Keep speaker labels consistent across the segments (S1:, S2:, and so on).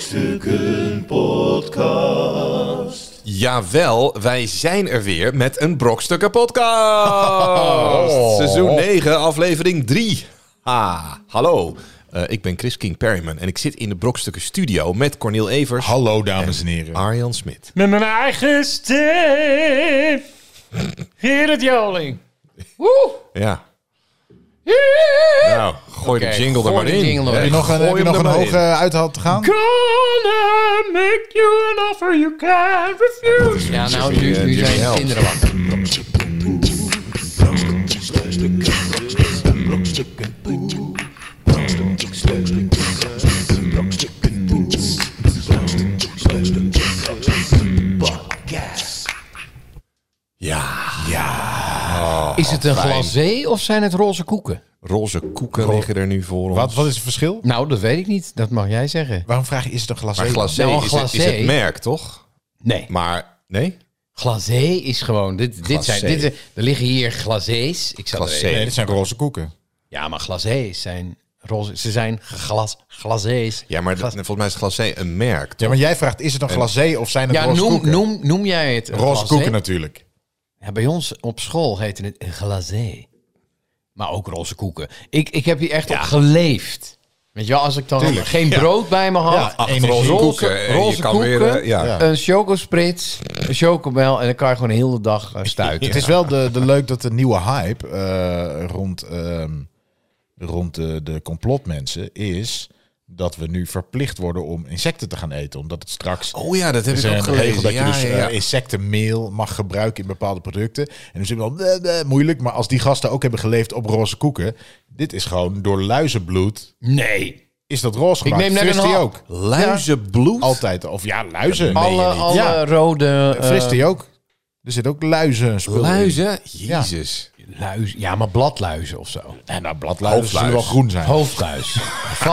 S1: Brokstukken Podcast.
S2: Jawel, wij zijn er weer met een Brokstukken Podcast. Seizoen 9, aflevering 3. Ah, hallo. Eh, ik ben Chris King Perryman en ik zit in de Brokstukken Studio met Cornel Evers.
S3: Hallo dames en heren.
S2: Arjan Smit.
S4: Met mijn eigen stem. Gerrit Joling. Woe!
S2: Ja. Nou, gooi
S5: Oké,
S2: de jingle er
S5: gooi
S2: maar
S5: de
S2: in.
S5: jingle er
S2: Hey,
S3: Heb je
S5: in.
S3: nog een,
S2: gooi
S3: heb je
S2: hem
S3: nog
S2: er
S3: een
S2: maar
S3: hoge
S2: in.
S3: uithal te gaan?
S4: Gonna make you an offer you can't refuse.
S5: Ja, nou, nu, nu zijn de kinderen wakker.
S2: Ja,
S5: Is het een glacé of zijn het roze koeken?
S2: roze koeken liggen er nu voor ons.
S3: Wat, wat is het verschil?
S5: Nou, dat weet ik niet. Dat mag jij zeggen.
S3: Waarom vraag je, is het een glas?
S2: Maar glacé,
S5: Nou, een
S2: is, het, is
S5: glacé.
S2: het merk, toch?
S5: Nee,
S2: Maar, nee?
S5: glacé is gewoon... Dit, dit zijn,
S2: Glacé.
S5: dit, zijn- er liggen hier glacés. Ik zal er
S2: Glacé.
S5: even-
S3: Nee, dit zijn roze koeken.
S5: Ja, maar glacés zijn roze... Ze zijn glas, glacés.
S2: Ja, maar dat- volgens mij is glacé een merk.
S3: Ja, maar jij vraagt, is het een glacé of zijn het
S5: Ja,
S3: roze
S5: noem,
S3: koeken?
S5: noem, noem jij het een
S3: roze
S5: glacé?
S3: koeken natuurlijk.
S5: Ja, bij ons op school heette het een glacé. Maar ook roze koeken. Ik, ik heb hier echt op geleefd. Weet je wel, als ik dan
S3: Tuurlijk,
S5: geen brood bij me had...
S3: Ja, acht
S5: energie.
S3: roze koeken.
S2: En je
S5: roze
S2: kan
S5: koeken,
S2: weer, eh, ja.
S3: Ja.
S5: een chocosprits, een chocomel... en dan kan je gewoon heel de hele dag eh, stuiten.
S3: Het is wel de, de leuk dat de nieuwe hype eh, rond, ehm, rond de, de complotmensen is dat we nu verplicht worden om insecten te gaan eten. Omdat het straks...
S2: Oh ja, dat heb
S3: Er is
S2: ik ook
S3: een regel
S2: gelezen.
S3: dat je
S2: Ja,
S3: dus
S2: ja, ja.
S3: eh, insectenmeel mag gebruiken in bepaalde producten. En dus is het wel eh, eh, moeilijk. Maar als die gasten ook hebben geleefd op roze koeken. Dit is gewoon door luizenbloed.
S5: Nee.
S3: Is dat roze
S5: Ik
S3: gemaakt?
S5: neem net
S3: Frist
S5: een
S3: die
S5: hap.
S3: ook.
S2: Luizenbloed?
S3: Altijd. Of ja, luizen.
S5: Alle, alle
S3: Ja.
S5: rode... eh,
S3: Frist die ook. Er zit ook luizen spul in.
S2: Luizen? Jezus.
S5: luis, ja, maar bladluizen of zo.
S3: En nou, bladluizen zullen wel
S2: Hoofdluis.
S3: groen zijn.
S5: Hoofdluis.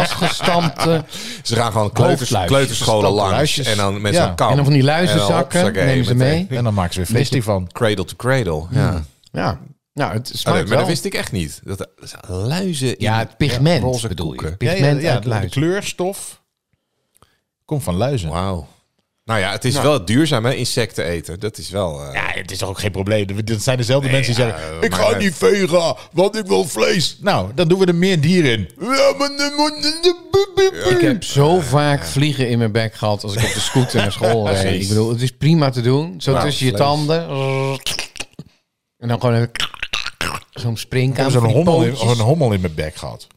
S5: Vastgestampte.
S2: Ze gaan gewoon kleuters,
S5: Hoofdluis.
S2: kleuterscholen
S3: Gestampte
S2: langs.
S3: luisjes.
S2: En dan met
S3: Ja.
S2: zo'n kam.
S5: En dan van die luizenzakken
S2: En dan hoppakee,
S5: nemen ze mee.
S2: meteen.
S3: En dan maken ze weer fris die van.
S2: Cradle to cradle. Ja. Ah,
S5: Ja. Nou, het
S2: nee,
S5: smaakt
S2: maar
S5: wel.
S2: dat wist ik echt niet. Dat, dat is luizen in
S5: Ja, het pigment
S2: roze
S5: bedoel
S2: koeken.
S5: je.
S3: Ja, ja,
S5: Pigment
S3: ja,
S5: uit
S3: de, de
S5: luizen.
S3: kleurstof komt van luizen.
S2: Wauw. Nou ja, het is wel duurzaam hè, insecten eten. Dat is wel... eh,
S3: Ja, het is toch ook geen probleem. Dat zijn dezelfde mensen die
S2: ja,
S3: zeggen:
S2: eh,
S3: Ik
S2: maar-
S3: ga niet vega, want ik wil vlees. Nou, dan doen we er meer dier in. Ja, maar dan moet-
S5: Ik heb zo vaak vliegen in mijn bek gehad als ik op de scooter naar school reed.
S2: Precies.
S5: Ik bedoel, het is prima te doen. Zo
S2: Nou,
S5: tussen je
S2: vlees.
S5: tanden. En dan gewoon even zo'n
S3: Ik
S5: springkaan.
S3: heb zo'n
S5: van die
S3: hommel, in- oh,
S5: pootjes.
S3: een hommel in mijn bek gehad.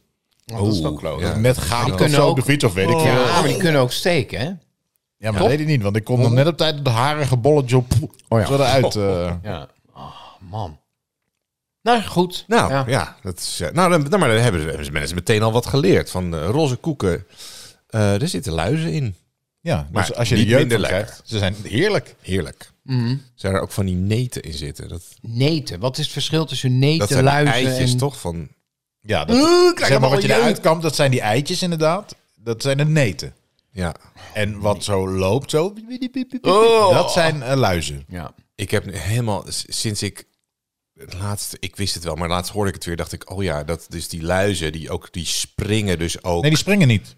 S5: Oh, dat is toch kloot.
S2: ja.
S3: Net gaat of
S5: kunnen
S3: zo
S5: ook- Oh.
S3: op de fiets of weet ik
S5: Ja,
S3: veel.
S5: Ah, maar die kunnen ook steken, hè?
S3: Ja, maar dat weet ik niet, want ik kon dan net op tijd op de harige bolletje op. Oh
S5: ja.
S3: Zo eruit. eh.
S5: Ja. Oh, man. Nou, goed.
S2: Nou, ja.
S5: Ja.
S2: dat is, eh, nou, dan, nou, maar dan hebben ze- hebben ze mensen meteen al wat geleerd. Van eh, roze koeken, Eh er zitten luizen in.
S3: Ja,
S2: Maar
S3: dus als je de
S2: niet
S3: jeugd
S2: minder
S3: van
S2: lekker.
S3: krijgt, ze zijn heerlijk.
S2: Heerlijk.
S5: Mhm.
S2: Zijn er ook van die neten in zitten? Dat,
S5: Neten. Wat is het verschil tussen neten,
S2: dat zijn die
S5: luizen
S2: eitjes
S5: en...
S2: toch? Van,
S3: Ja, dat, zeg maar wat je eruit kampt, dat zijn die eitjes inderdaad. Dat zijn de neten.
S2: ja.
S3: En wat zo loopt, zo. Dat zijn eh, luizen.
S5: Oh. Ja.
S2: Ik heb nu helemaal, s- sinds ik het laatste, ik wist het wel, maar laatst hoorde ik het weer, dacht ik, oh ja, dat dus die luizen, die ook, die springen dus ook.
S3: Nee, die springen niet.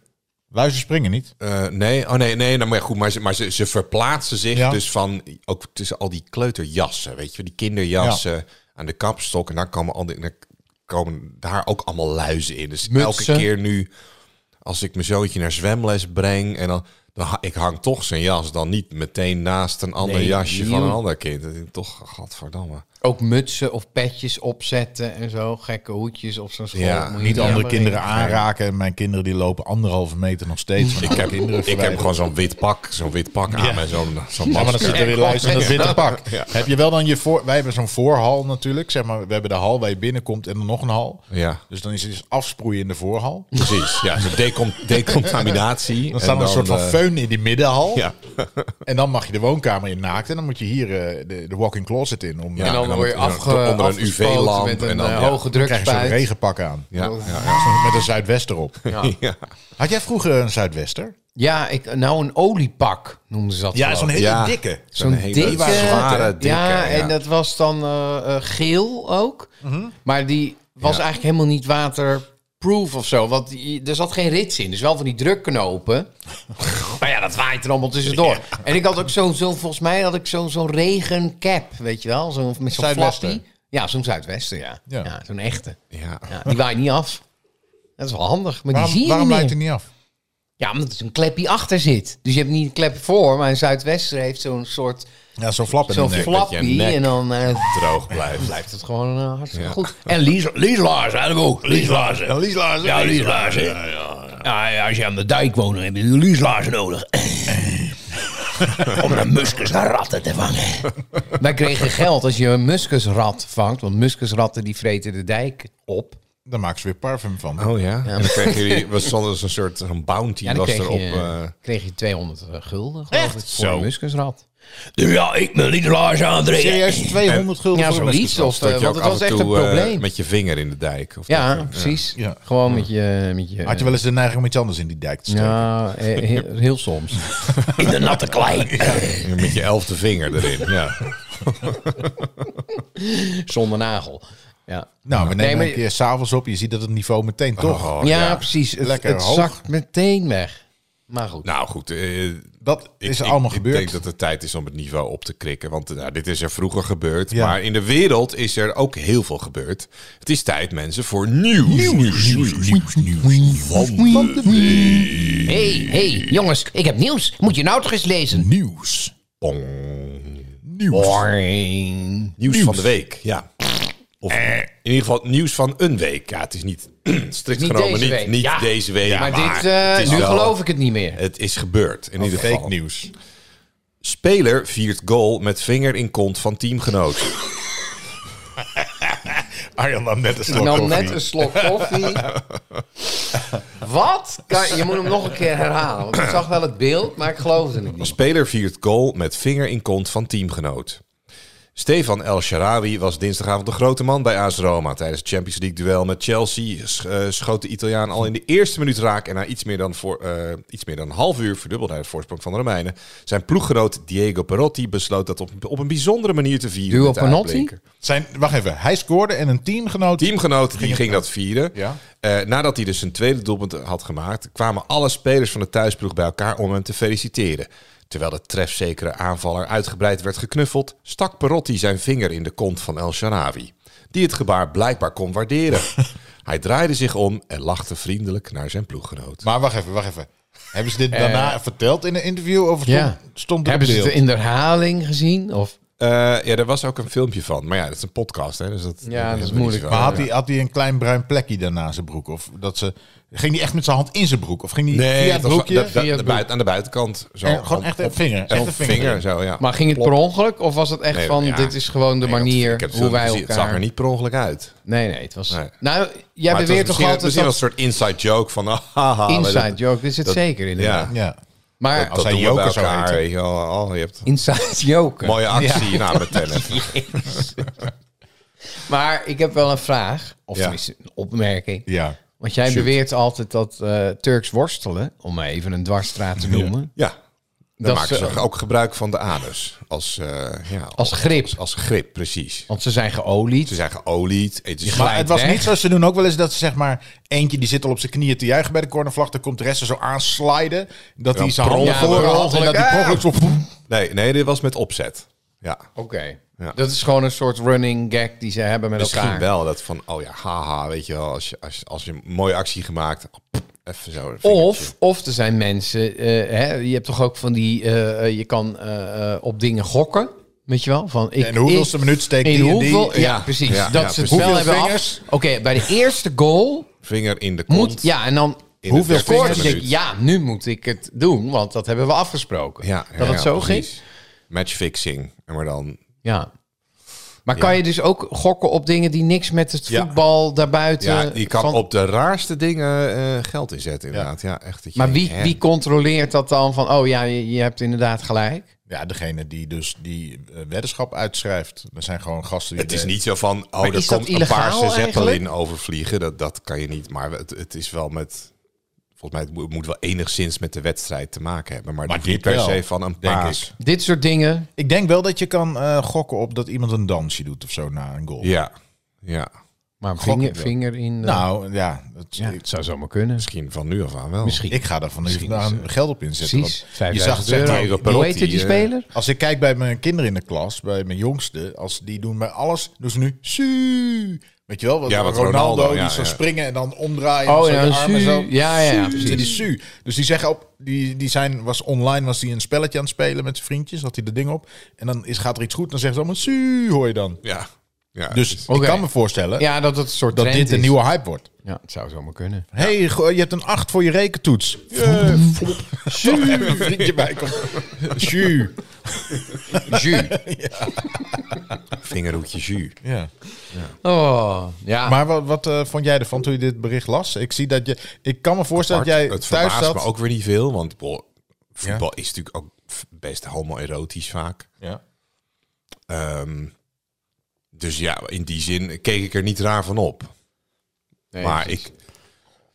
S3: Luizen springen niet.
S2: Eh, nee, oh nee, nee, nou, maar goed, maar ze, maar ze, ze verplaatsen zich
S3: Ja.
S2: dus van, ook tussen al die kleuterjassen, weet je, die kinderjassen aan de kapstok. En daar komen, al die, daar komen daar ook allemaal luizen in. Dus
S5: Mutsen.
S2: elke keer nu, als ik mijn zoontje naar zwemles breng en dan, dan ha- ik hang toch zijn jas dan niet meteen naast een ander
S5: Nee,
S2: jasje van
S5: joh.
S2: een ander kind. Dat is Toch, godverdamme.
S5: Ook mutsen of petjes opzetten en zo. Gekke hoedjes op zo'n school.
S2: Ja,
S5: Moet je
S3: Niet andere
S5: helemaal
S3: kinderen
S5: in.
S3: aanraken. En mijn kinderen die lopen anderhalve meter nog steeds. van
S2: Ik
S3: alle
S2: heb,
S3: kinderen
S2: ik heb
S3: verwijderd.
S2: gewoon zo'n wit pak, zo'n wit pak aan en zo'n zo'n
S3: Ja, maar dan
S2: masker.
S3: zit er weer luizen in dat witte
S2: Ja.
S3: pak.
S2: Ja.
S3: Heb je wel dan je voor... Wij hebben zo'n voorhal natuurlijk. Zeg maar, we hebben de hal waar je binnenkomt en dan nog een hal.
S2: Ja.
S3: Dus dan is het dus afsproeien in de voorhal.
S2: Precies, ja, zo'n decon decontaminatie.
S3: Dan staat er
S2: En
S3: een soort van
S2: eh,
S3: föhn in die middenhal.
S2: Ja.
S3: En dan mag je de woonkamer in naakt. En dan moet je hier eh, de, de walk-in closet in. Om, eh,
S2: Ja,
S5: en dan,
S2: en dan
S5: word je
S2: met-
S5: afge,
S2: onder een
S5: afgespoten
S2: UV-lamp
S5: met een
S2: en dan,
S5: eh,
S2: ja.
S5: hoge
S3: krijg je zo'n
S5: drukspuit.
S3: regenpak aan.
S2: Ja, ja, ja.
S3: Zo'n- Met een zuidwester op.
S2: ja.
S3: Had jij vroeger een zuidwester?
S5: Ja, ik, nou een oliepak noemden ze dat. geloof ik.
S2: hele Ja. dikke. Zo'n hele zware, dikke,
S5: Ja, en
S2: ja.
S5: dat was dan eh, eh, geel ook. Maar die was eigenlijk helemaal niet waterproof of zo. Want die- er zat geen rits in. Dus wel van die drukknopen. maar Maar ja, dat waait er allemaal tussendoor.
S2: Ja.
S5: En ik had ook zo'n, zo, volgens mij had ik zo'n zo'n regencap, weet je wel? Zo, met zo'n
S3: Zuidwester.
S5: flappie. Ja, zo'n Zuidwester, ja. ja.
S3: Ja.
S5: zo'n echte.
S2: Ja.
S5: Ja, die waait niet af. Dat is wel handig, maar
S3: Waarom,
S5: die zie je
S3: waarom
S5: niet
S3: leidt
S5: meer.
S3: hij niet af?
S5: Ja, omdat er een klepje achter zit. Dus je hebt niet een klep voor, maar een Zuidwester heeft zo'n soort...
S3: Ja, zo'n flap in
S5: Zo'n
S3: de nek.
S2: dat je
S5: flappie
S2: nek
S5: en dan... eh,
S2: Droog blijft.
S5: blijft het gewoon eh, hartstikke
S2: Ja.
S5: goed. En Lies, Lies Laars, eigenlijk ook. Lies Laars.
S3: Ja, Lies Laarzen.
S5: Ja, Lies Laars, hè. Ja, ja, als je aan de dijk woont, dan heb je Lies Laars nodig. Om de muskusratten te vangen. Wij kregen geld als je een muskusrat vangt. Want muskusratten die vreten de dijk op.
S3: Daar maken ze weer parfum van.
S2: Oh ja. En dan kregen jullie, was zonder zo'n soort een bounty
S5: Ja, dan
S2: was
S5: kreeg
S2: erop.
S5: je,
S2: eh,
S5: kreeg je 200 gulden, geloof ik, voor
S2: Zo.
S5: een muskusrat. Dus Ja, ik mijn Lies Laars aandringen.
S3: Serieus, 200 gulden
S5: Ja,
S3: voor een
S5: zoiets.
S3: muskusrat.
S5: Of, eh,
S2: dat je
S5: want
S2: ook
S5: het
S2: af
S5: was
S2: en
S5: echt
S2: toe
S5: een
S2: eh,
S5: probleem.
S2: met je vinger in de dijk. Of
S5: Ja,
S2: dat, eh,
S5: precies.
S3: Ja.
S5: Gewoon met je... Met je
S3: Had je wel eens de neiging om iets anders in die dijk te steken?
S5: Ja, he- he- heel soms. In de natte klei.
S2: Met je elfde vinger erin. Ja.
S5: Zonder nagel. Ja,
S3: Nou, we nemen
S5: maar-
S3: een keer s'avonds op. Je ziet dat het niveau meteen toch...
S2: Oh,
S5: ja, precies. Het,
S3: Lekker
S5: het
S3: hoog.
S5: zakt meteen weg. Maar goed.
S2: Nou goed, eh,
S3: Dat
S2: ik-
S3: is
S2: ik-
S3: allemaal gebeurd.
S2: Ik denk dat het tijd is om het niveau op te krikken. Want eh, nou, dit is er vroeger gebeurd.
S3: Ja.
S2: Maar in de wereld is er ook heel veel gebeurd. Het is tijd, mensen, voor nieuws. Van de week.
S5: hey, hey, jongens, ik heb nieuws. Moet je nou toch eens lezen?
S3: Nieuws.
S2: Pong.
S3: Nieuws.
S2: Nieuws, van de week, ja. Of in ieder geval nieuws van een week. Ja, het is niet strikt
S5: Niet
S2: genomen
S5: deze
S2: niet,
S5: week.
S2: niet
S5: Ja.
S2: deze week.
S5: Maar dit,
S2: het
S5: eh,
S2: is
S5: nu
S2: wel-
S5: geloof ik het niet meer.
S2: Het is gebeurd, in ieder geval.
S3: Fake nieuws.
S2: Speler viert goal met vinger in kont van teamgenoot.
S3: Arjan nam net een
S5: Ik
S3: slok
S5: nam
S3: koffie.
S5: Nou, net een slok koffie. Wat? Kan- je moet hem nog een keer herhalen. Want ik zag wel het beeld, maar ik geloofde het niet.
S2: Speler viert goal met vinger in kont van teamgenoot. Stefan El Sharawi was dinsdagavond de grote man bij AS Roma. Tijdens het Champions League duel met Chelsea sch- eh, schoot de Italiaan al in de eerste minuut raak. En na iets meer dan, voor, eh, iets meer dan een half uur verdubbelde hij het voorsprong van de Romeinen. Zijn ploeggenoot Diego Perotti besloot dat op, op een bijzondere manier te vieren.
S5: Duo
S2: met de
S5: Perotti?
S2: uitblinker.
S3: Zijn, wacht even. Hij scoorde en een teamgenoot...
S2: teamgenoot die ging dat vieren.
S3: Ja.
S2: Eh, nadat hij dus zijn tweede doelpunt had gemaakt, kwamen alle spelers van de thuisploeg bij elkaar om hem te feliciteren. Terwijl de trefzekere aanvaller uitgebreid werd geknuffeld, stak Perotti zijn vinger in de kont van El Sharawi, die het gebaar blijkbaar kon waarderen. Hij draaide zich om en lachte vriendelijk naar zijn ploeggenoot.
S3: Maar wacht even, wacht even. Hebben ze dit daarna verteld in een interview? Of stond,
S5: Eh. Ja.
S3: stond er
S5: Hebben
S3: op
S5: ze het
S3: beeld?
S5: in de herhaling gezien? Of?
S2: Eh, ja, daar was ook een filmpje van. Maar ja, dat is een podcast, hè? Dus dat,
S5: Ja, dat is
S2: niet
S5: moeilijk.
S2: zoveel.
S3: Maar had hij, had hij een klein bruin plekje daarna zijn broek? Of dat ze, ging hij echt met zijn hand in zijn broek? Of ging hij via
S2: Nee, het
S3: het
S2: was
S3: broekje?
S2: da- da-
S5: Via het
S2: de
S5: broek.
S2: buiten- aan de buitenkant. Zo,
S3: En gewoon
S2: Om-
S3: echt
S2: op-
S3: een vinger.
S2: echt
S3: Echt een vinger.
S2: zo, ja.
S5: Maar ging het per ongeluk? Of was het echt
S2: Nee,
S5: van,
S2: ja.
S5: dit is gewoon de
S2: Nee, dat-
S5: manier
S2: ik heb het
S5: hoe
S2: zo
S5: wij
S2: gezien.
S5: elkaar...
S2: Het zag er niet per ongeluk uit.
S5: Nee, nee, het was...
S2: Nee.
S5: Nou, jij
S2: Maar het was
S5: beweert toch
S2: misschien-
S5: altijd
S2: Misschien
S5: dat...
S2: als een soort inside joke van... ah, haha,
S5: Inside
S2: dat-
S5: joke, dit zit
S2: dat-
S5: zeker inderdaad.
S2: Ja,
S3: Ja.
S5: Maar
S2: dat
S3: hij
S2: doen we
S3: joker
S2: bij
S3: zou
S2: elkaar,
S3: heten.
S2: weet je wel. Oh, je hebt een
S5: inside joker.
S2: mooie actie na meteen even.
S5: Maar ik heb wel een vraag, of
S2: Ja.
S5: tenminste een opmerking.
S3: ja.
S5: Want jij beweert altijd dat eh, Turks worstelen, om maar even een dwarsstraat te noemen,
S2: Ja,
S5: Dat
S2: dan maken
S5: ze-
S2: ze ook gebruik van de anus. Als, eh, ja,
S5: als grip.
S2: als, als grip, precies.
S5: Want ze zijn geolied.
S2: Ze zijn geolied. Het is
S3: Maar het was
S5: weg.
S3: niet zo. Ze doen ook wel eens dat ze zeg maar... Eentje die zit al op zijn knieën te juichen bij de cornervlag. Dan komt de rest er zo aansliden. Dat hij zijn handen
S5: per
S3: voor had. En
S5: ongeluk,
S3: dat hij
S5: ah!
S3: per ongeluk zo...
S2: Nee, nee, dit was met opzet. Ja,
S5: Oké.
S2: Dus- Ja.
S5: Dat is gewoon een soort running gag die ze hebben met
S2: misschien
S5: elkaar.
S2: wel. Dat van, oh ja, haha, weet je wel. Als je, als, je- als je een mooie actie gemaakt... oh, Even zo. een vingertje.
S5: Of, of er zijn mensen, eh, hè, je hebt toch ook van die, eh, eh, je kan eh, eh, op dingen gokken, weet je wel? Van, ik,
S3: En hoeveelste
S5: ik-
S3: minuut steekt
S5: in
S3: die en die?
S5: hoeveel, Ja,
S2: Ja,
S5: precies.
S2: ja,
S5: dat
S2: ja,
S5: ze
S2: precies.
S5: het spel
S3: Hoeveel
S5: hebben af.
S3: vingers?
S5: Oké, bij de eerste goal
S2: Vinger in de kont.
S5: moet, ja, en dan
S2: de
S5: hoeveel
S2: dertigste
S5: scoort je?
S2: minuut.
S5: Denk, ja, nu moet ik het doen, want dat hebben we afgesproken.
S2: Ja,
S5: dat
S2: ja,
S5: het zo
S2: precies.
S5: ging.
S2: Matchfixing. En maar dan.
S5: Ja. Maar kan je dus ook gokken op dingen die niks met het
S2: Ja.
S5: voetbal daarbuiten...
S2: Ja, je kan
S5: van-
S2: op de raarste dingen eh, geld inzetten, inderdaad. Ja, echt. dat je
S5: Maar wie,
S2: denkt, hè?
S5: wie controleert dat dan van, oh ja, je, je hebt inderdaad gelijk?
S3: Ja, degene die dus die eh, weddenschap uitschrijft. Er zijn gewoon gasten die...
S2: Het is
S3: de-
S2: niet zo van. Oh,
S5: eh, Maar
S2: er
S5: is dat
S2: komt een paarse
S5: illegaal
S2: zeppelin
S5: eigenlijk?
S2: overvliegen. Dat, dat kan je niet. Maar het, het is wel met. Volgens mij het moet, het moet wel enigszins met de wedstrijd te maken hebben. Maar,
S3: Maar
S2: het is niet
S3: dit
S2: per
S3: wel,
S2: se van een
S3: denk
S2: paas.
S5: Dit soort dingen
S3: Ik denk wel dat je kan eh, gokken op dat iemand een dansje doet of zo na een goal.
S2: Ja. Ja.
S5: Maar een
S3: Gok ik
S5: vinger,
S3: wel.
S5: vinger in... de-
S3: Nou ja, dat,
S5: ja,
S3: Ik,
S5: het zou zomaar kunnen.
S2: Misschien van nu af aan wel.
S5: Misschien.
S3: ik ga daar van nu
S5: Misschien
S3: daar
S5: is, eh,
S3: geld op inzetten.
S5: Precies.
S3: want Je zag het
S5: 5000
S3: zeg
S5: euro.
S3: maar,
S2: tegen
S5: Hoe
S2: Perotti,
S5: heet het, die
S2: eh,
S5: speler?
S3: Als ik kijk bij mijn kinderen in de klas, bij mijn jongste, als die doen bij alles, doen ze nu su. Weet je wel, wat,
S2: Ja, wat
S3: Ronaldo,
S2: Ronaldo,
S3: die
S2: ja,
S3: zo
S2: ja.
S3: springen en dan omdraaien.
S5: Oh,
S3: en
S5: ja,
S3: zo de
S5: su.
S3: armen zo.
S5: Ja, ja, ja,
S3: Su. Dus
S5: precies.
S3: die su. Dus die zeggen op, die, die zijn, was online, was die een spelletje aan het spelen met zijn vriendjes, had hij de ding op. En dan is, gaat er iets goed, dan zeggen ze allemaal su, hoor je dan.
S2: Ja. ja.
S3: Dus
S5: Oké.
S3: ik kan me voorstellen
S5: Ja, dat het een soort
S3: dat
S5: trend
S3: dit een
S5: is.
S3: nieuwe hype wordt.
S5: Ja, het zou zomaar kunnen.
S3: Hé, hey, je hebt een 8 voor je rekentoets. Eh, Yeah. Even een vriendje bij komt. Su.
S5: Jus.
S2: vingerhoedje jus.
S3: Ja.
S5: Oh, ja.
S2: Ah.
S3: Maar wat, wat eh, vond jij ervan toen je dit bericht las? Ik zie dat je. Ik kan me voorstellen dat jij
S2: het
S3: thuis
S2: verbaast
S3: zat.
S2: me ook weer niet veel, want boh, voetbal is natuurlijk ook f- best homoerotisch vaak.
S3: Ja.
S2: Ehm, dus ja, in die zin keek ik er niet raar van op.
S5: Nee,
S2: maar
S5: precies.
S2: ik,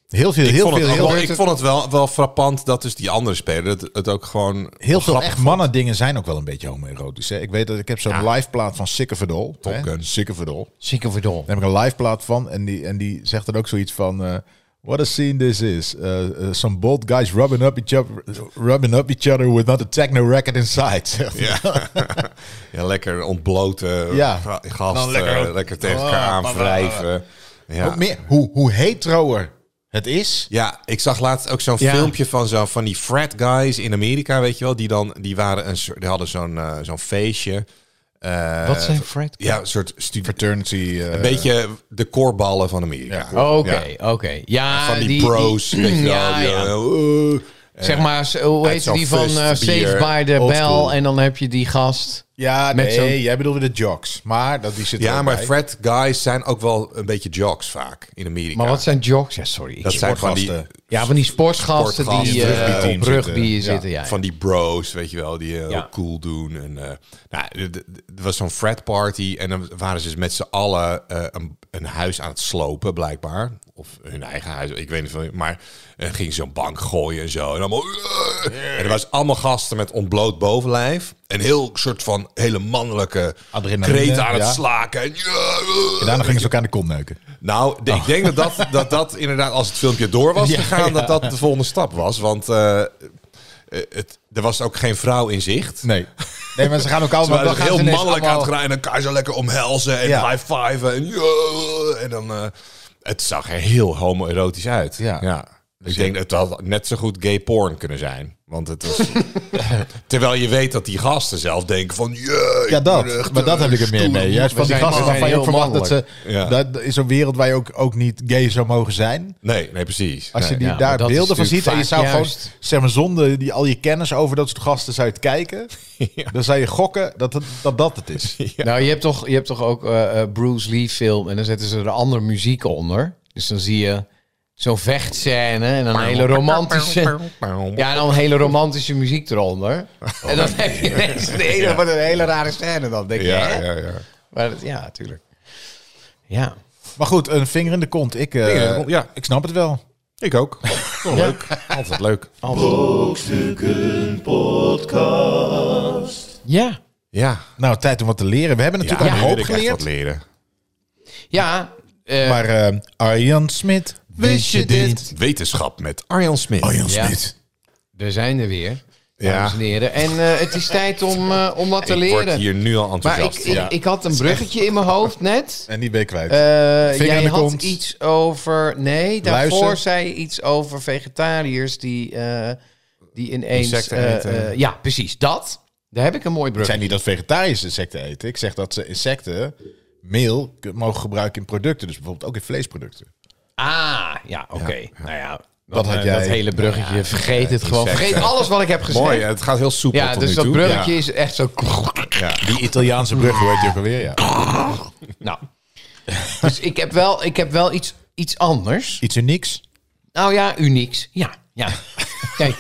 S3: Heel veel,
S2: ik,
S3: heel
S2: vond,
S3: veel,
S2: het ook
S3: heel,
S2: wel, ik vond het wel, wel frappant dat dus die andere speler het, het ook gewoon...
S3: heel veel
S2: grappig
S3: echt
S2: vond.
S3: mannen dingen zijn ook wel een beetje homoerotisch. Hè? Ik weet dat ik heb zo'n live plaat van Sikke Verdol.
S2: Top Gun.
S3: Sikke Verdol.
S5: Zieke verdol.
S3: Daar heb ik een live plaat van. En die, en die zegt dan ook zoiets van... eh, What a scene this is. Eh, eh, some bold guys rubbing up each other, rubbing up each other with not a techno record inside. Zegt hij.
S2: Ja. ja, lekker ontbloten
S3: Ja.
S2: ja. gast.
S3: Dan lekker-
S2: lekker, lekker tegen
S3: Ah, bah,
S2: elkaar
S3: bah,
S2: aanwrijven.
S3: Ook
S2: Ja.
S3: meer, hoe, hoe heteroer het is.
S2: ja, ik zag laatst ook zo'n
S5: Ja.
S2: filmpje van, zo, van die frat guys in Amerika, weet je wel. Die, dan, die, waren een, soort- die hadden zo'n eh, zo'n feestje. Eh,
S5: Wat zijn Fred?
S2: Ja, een soort stu-
S3: Fraternity. eh,
S2: een beetje de korballen van Amerika.
S5: Oké, oké. Ja,
S2: Van die, pro's, weet je wel.
S5: mm, ja,
S2: die,
S5: ja.
S2: eh, oeh.
S5: Zeg maar, zo- hoe
S2: Uit
S5: heet
S2: zo'n
S5: die van
S2: fust,
S5: eh,
S2: bier,
S5: Saved by the
S2: old
S5: Bell?
S2: school.
S5: En dan heb je die gast.
S3: Ja,
S5: Met zo'n-
S3: nee, jij bedoelde de jocks. Maar dat die zit er
S2: Ja,
S3: ook
S2: maar
S3: bij.
S2: frat guys zijn ook wel een beetje jocks vaak in Amerika.
S5: Maar wat zijn jocks? Ja, sorry. ik-
S2: Dat zijn van die,
S3: sportgasten.
S5: ja, van die sportgasten
S2: Sportgasten,
S5: die eh
S3: rugbyteam
S5: op rugby
S3: zitten. Ja.
S5: zitten. ja.
S2: van die bros, weet je wel, die eh,
S5: Ja.
S2: heel cool doen. En, eh, nou, d- d- d- er was zo'n frat party en dan waren ze dus met z'n allen eh, een, een huis aan het slopen, blijkbaar. Of hun eigen huis, ik weet niet veel. Maar eh, gingen ze een bank gooien en zo. En, allemaal, eh. en er was allemaal gasten met ontbloot bovenlijf. Een heel soort van hele mannelijke
S3: Adrenaline,
S2: kreet aan het
S3: ja.
S2: slaken. En, eh.
S3: En daarna gingen ze elkaar aan de kont neuken.
S2: nou, d-
S3: Oh.
S2: ik denk dat dat, dat dat inderdaad, als het filmpje door was gegaan, dat dat de volgende stap was. Want eh, eh, het, er was ook geen vrouw in zicht.
S3: Nee. Nee, maar ze gaan ook
S2: Ze
S3: allemaal...
S2: waren
S3: dan
S2: dus
S3: gaan
S2: heel
S3: ze ineens
S2: mannelijk aan het
S3: allemaal-
S2: gaan en elkaar zo lekker omhelzen en
S3: Ja.
S2: high-fiven. En, ja, en dan, eh, het zag er heel homoerotisch uit.
S3: Ja.
S2: Ik denk dat het had net zo goed gay porn kunnen zijn. Want het was... Terwijl je weet dat die gasten zelf denken van... Yeah,
S3: Ja, dat. Maar dat heb ik er meer mee. Juist van die
S5: zijn-
S3: gasten
S5: we zijn
S3: waarvan je ook
S5: heel
S3: verwacht dat ze...
S2: Ja.
S3: Dat is een wereld waar je ook, ook niet gay zou mogen zijn.
S2: Nee, nee, precies.
S3: Als je
S2: Nee.
S3: die,
S5: ja,
S3: daar
S5: maar dat is
S3: beelden van ziet
S5: natuurlijk
S3: en je zou
S5: vaak
S3: gewoon...
S5: juist.
S3: Zeg maar, zonder die, al je kennis over dat soort gasten zou je het kijken. Dan zou je gokken dat het, dat, dat het is.
S5: Nou, je hebt toch, je hebt toch ook eh, eh, Bruce Lee film en dan zetten ze er andere muziek onder. Dus dan zie je zo'n vechtscène en dan een hele romantische... Ja, en dan een hele romantische muziek eronder. en dan heb je ineens een hele, wat een hele rare scène dan, denk je.
S2: Ja,
S5: hè?
S2: ja, ja.
S5: Maar dat- ja, natuurlijk. Ja.
S3: Maar goed, een vinger in de kont. Ik, eh,
S2: Vinger in de kont, ja.
S3: ik snap het wel.
S2: Ik ook. Wel leuk. Altijd leuk.
S5: Ja.
S2: Ja.
S3: Nou, tijd om wat te leren. We hebben natuurlijk al een hoop geleerd.
S2: leren.
S5: Ja. eh,
S3: Maar eh, Arjan Smit, wist je dit?
S2: Wetenschap met Arjan Smit.
S3: Arjan
S5: Ja.
S3: Smit.
S5: we zijn er weer,
S2: Ja.
S5: dames en heren. En eh, het is tijd om, eh, om wat te
S2: Ik word
S5: leren.
S2: hier nu al
S5: Maar ik,
S2: enthousiast.
S5: ik, ik had een bruggetje in mijn hoofd net.
S3: En die ben je kwijt.
S5: Eh,
S3: Vinger in
S5: jij
S3: de
S5: had
S3: kont.
S5: iets over... Nee, daarvoor
S3: Luister.
S5: zei je iets over vegetariërs die, eh, die ineens...
S2: Insecten
S5: eh,
S2: eten.
S5: eh, ja, precies. Dat. Daar heb ik een mooi
S3: ik
S5: brug.
S3: zei niet dat vegetariërs insecten eten. Ik zeg dat ze insecten meel k- mogen gebruiken in producten. Dus bijvoorbeeld ook in vleesproducten.
S5: Ah, ja, oké. Nou ja,
S3: Dat
S5: dat,
S3: had
S5: had
S3: jij-
S5: dat hele bruggetje. vergeet het gewoon.
S2: insecten.
S5: Vergeet alles wat ik heb gezegd.
S2: Mooi, het gaat heel soepel
S5: Ja,
S2: tot
S5: dus
S2: nu
S5: dat
S2: toe.
S5: bruggetje
S2: Ja.
S5: is echt zo...
S3: Die Italiaanse brug, hoe heet die ook alweer? Ja.
S5: Nou, dus ik heb wel, ik heb wel iets, iets anders.
S3: Iets unieks.
S5: Nou ja, unieks. Ja, ja. Kijk,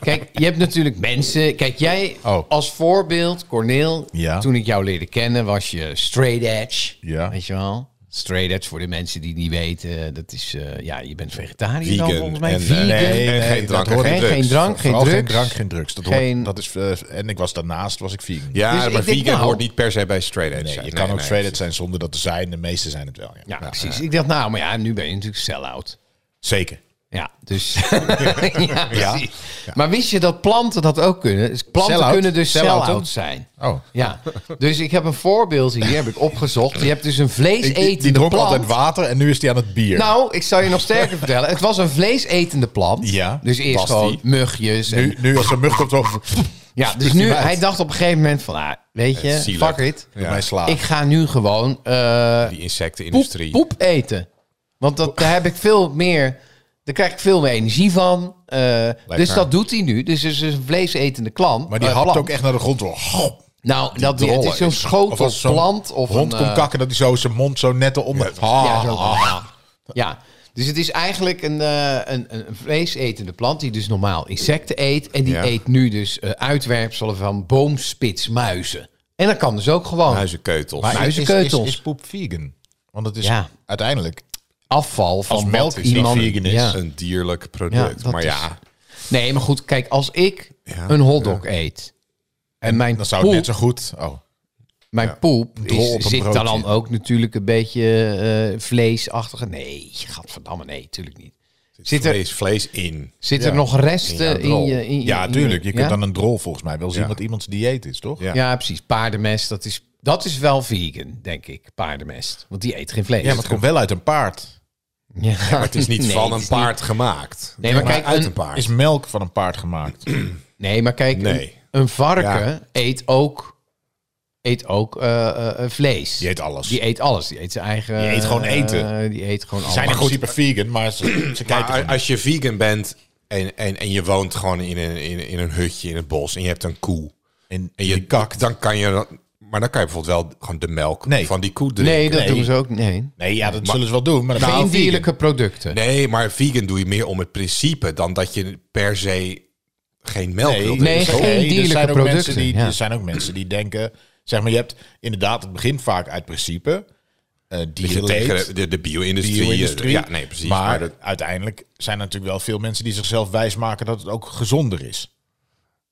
S5: kijk, je hebt natuurlijk mensen. Kijk, jij
S3: Oh.
S5: als voorbeeld, Corneel.
S3: Ja.
S5: Toen ik jou leerde kennen, was je straight edge.
S3: Ja.
S5: Weet je wel? Straight edge voor de mensen die het niet weten. Dat is, eh, ja, je bent vegetariër dan
S2: Vegan
S5: volgens mij.
S2: en, eh,
S5: Vegan.
S2: nee, en geen
S3: dat
S2: drank en
S3: hoort
S2: geen
S3: niet.
S2: drugs.
S5: Geen drank, geen
S3: Vooral geen
S5: drugs.
S3: drank, geen drugs. Dat
S5: Geen-
S3: hoort, dat is, eh, en ik was daarnaast, was ik vegan.
S2: Ja,
S5: Dus ik
S2: maar
S5: denk,
S2: vegan
S5: nou-
S2: hoort niet per se bij straight edge.
S3: Nee, je
S2: zijn.
S3: kan ook
S2: nee.
S3: straight edge zijn zonder dat te zijn. De meeste zijn het wel. Ja,
S5: Ja, precies. Ik dacht, nou, maar ja, nu ben je natuurlijk sell-out.
S3: Zeker.
S5: Ja, dus. ja, precies. Maar wist je dat planten dat ook kunnen? Dus planten
S3: Sell-out?
S5: kunnen dus
S3: Sell-out ook?
S5: sell-out zijn.
S3: Oh.
S5: Ja, dus ik heb een voorbeeld hier, heb ik opgezocht. Je hebt dus een
S3: Ik, die, die
S5: vleesetende
S3: dronk
S5: plant.
S3: altijd water en nu is die aan het bier.
S5: Nou, ik zal je nog sterker vertellen. Het was een vleesetende plant.
S3: Ja,
S5: Dus eerst
S3: was die.
S5: gewoon mugjes. En,
S3: nu, nu als er mug komt, zo...
S5: ja, dus nu, hij dacht op een gegeven moment van, ah, weet
S3: Eh,
S5: je,
S2: zielig.
S5: fuck it.
S3: Doe mij slaan.
S5: Ik ga nu gewoon eh,
S2: Die
S5: poep,
S2: insectenindustrie.
S5: poep eten. Want dat, daar heb ik veel meer... Daar krijg ik veel meer energie van. Eh, dus dat doet hij nu. Dus het is een vleesetende klant.
S3: maar die
S5: eh,
S3: hapt
S5: plant.
S3: ook echt naar de grond. Door. Goh,
S5: Nou, dat,
S3: die
S5: het
S3: rollen
S5: is zo'n
S3: is. Of als zo'n
S5: schotelplant. Of een,
S3: hond komt
S5: eh,
S3: kakken dat hij zo zijn mond zo net eronder... Ah,
S5: Ja, zo.
S3: ah.
S5: Ja, dus het is eigenlijk een, eh, een, een een vleesetende plant die dus normaal insecten eet. En die
S2: Ja.
S5: eet nu dus eh, uitwerpselen van boomspitsmuizen. En dat kan dus ook gewoon.
S2: Huizenkeutels.
S3: Maar is, is, is,
S5: Muizenkeutels.
S3: is poep vegan? Want het is
S5: Ja.
S3: uiteindelijk...
S5: Afval van
S3: Als
S5: wat
S3: melk is niet
S5: iemand...
S3: vegan is.
S5: Ja.
S2: Een dierlijk
S5: Ja,
S2: product.
S5: dat
S2: maar
S5: is-
S2: ja,
S5: Nee, maar goed, kijk, als ik
S2: Ja,
S5: een hotdog eet... En mijn
S3: Dan
S5: poep,
S3: zou het net zo goed... Oh.
S5: mijn poep
S3: drol
S5: is-
S3: op een
S5: zit daar
S3: broodje.
S5: dan ook natuurlijk een beetje eh, vleesachtige... Nee, gadverdamme, nee, natuurlijk niet. Zit er,
S2: vlees, vlees in.
S5: zit er
S3: Ja.
S5: nog resten in,
S2: drol.
S5: je... In je-
S3: Ja,
S5: in
S3: tuurlijk. Je kunt
S5: ja?
S3: dan een drol volgens mij wel zien
S2: Ja.
S3: wat iemands dieet is, toch?
S2: Ja.
S5: Ja, precies. Paardenmest, dat is, dat is wel vegan, denk ik. Paardenmest. Want die eet geen vlees.
S3: Ja, maar het komt wel uit een paard.
S5: Ja.
S2: Maar het is niet
S5: Nee,
S2: van
S5: het
S2: een
S5: is
S2: paard gemaakt.
S5: Nee, maar kijk,
S2: uit een,
S5: een-
S2: paard.
S3: Is melk van een paard gemaakt.
S5: niet- Nee, maar kijk,
S2: Nee.
S5: Een, een varken
S2: Ja.
S5: eet ook, eet ook eh, eh, eh, vlees.
S3: Die eet alles.
S5: Die eet alles. Die eet zijn eigen...
S3: Die eet gewoon
S5: eh,
S3: eten.
S5: die eet gewoon alles.
S3: zijn in principe vegan, maar ze, ze kijken
S2: Maar
S3: gewoon
S2: als je vegan bent en, en, en je woont gewoon in een, in, in een hutje in het bos en je hebt een koe
S3: in,
S2: en je kakt, dan kan je, dan- maar dan kan je bijvoorbeeld wel gewoon de melk
S3: Nee.
S2: van die koe drinken.
S5: Nee, dat
S3: Nee.
S5: doen ze ook Nee.
S3: Nee, ja, dat zullen ze wel doen. Maar dat is
S5: Geen
S3: vegan.
S5: dierlijke producten.
S2: Nee, maar vegan doe je meer om het principe dan dat je per se geen melk
S3: Nee,
S2: wil
S5: Nee,
S2: drinken.
S5: geen
S3: er zijn ook
S5: dierlijke
S3: mensen
S5: producten,
S3: Die,
S5: ja.
S3: Er zijn ook mensen die denken... Zeg maar, je hebt inderdaad... Het begint vaak uit principe. eh
S2: Dus je
S3: dierenleed,
S2: tegen de, de bio-industrie. eh,
S3: bio-industrie.
S2: Ja, nee, precies.
S3: Maar,
S2: maar dat-
S3: uiteindelijk zijn er natuurlijk wel veel mensen... die zichzelf wijsmaken dat het ook gezonder is.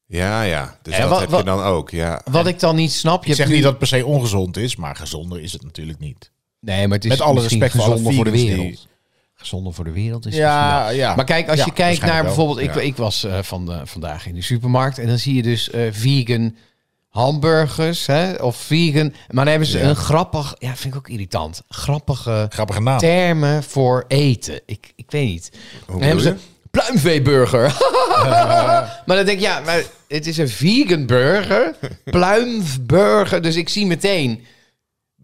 S2: ja, ja. Dus
S5: En
S2: dat
S5: wat-
S2: heb
S5: wat-
S2: je dan ook, ja.
S5: Wat ik dan niet snap... Je
S3: Ik
S5: hebt
S3: zeg
S5: nu-
S3: niet dat het per se ongezond is... maar gezonder is het natuurlijk niet.
S5: Nee, maar het is
S3: Met alle
S5: misschien
S3: respect voor alle
S5: gezonder voor de
S3: vegans die-
S5: wereld. Gezonder voor de wereld is misschien wel.
S3: Ja, ja.
S5: Maar kijk, als
S3: Ah, Ja,
S5: je kijkt naar
S3: waarschijnlijk wel.
S5: bijvoorbeeld, ik, ik was eh, van de, vandaag in de supermarkt en dan zie je dus eh, vegan hamburgers hè, of vegan. Maar dan hebben ze
S3: Ja.
S5: een grappig, ja, vind ik ook irritant, grappige
S3: Grappige naam.
S5: termen voor eten. Ik, ik weet niet. Dan hebben ze
S2: bedoel
S5: pluimveeburger. maar dan denk ik, ja, maar het is een vegan burger, pluimburger. Dus ik zie meteen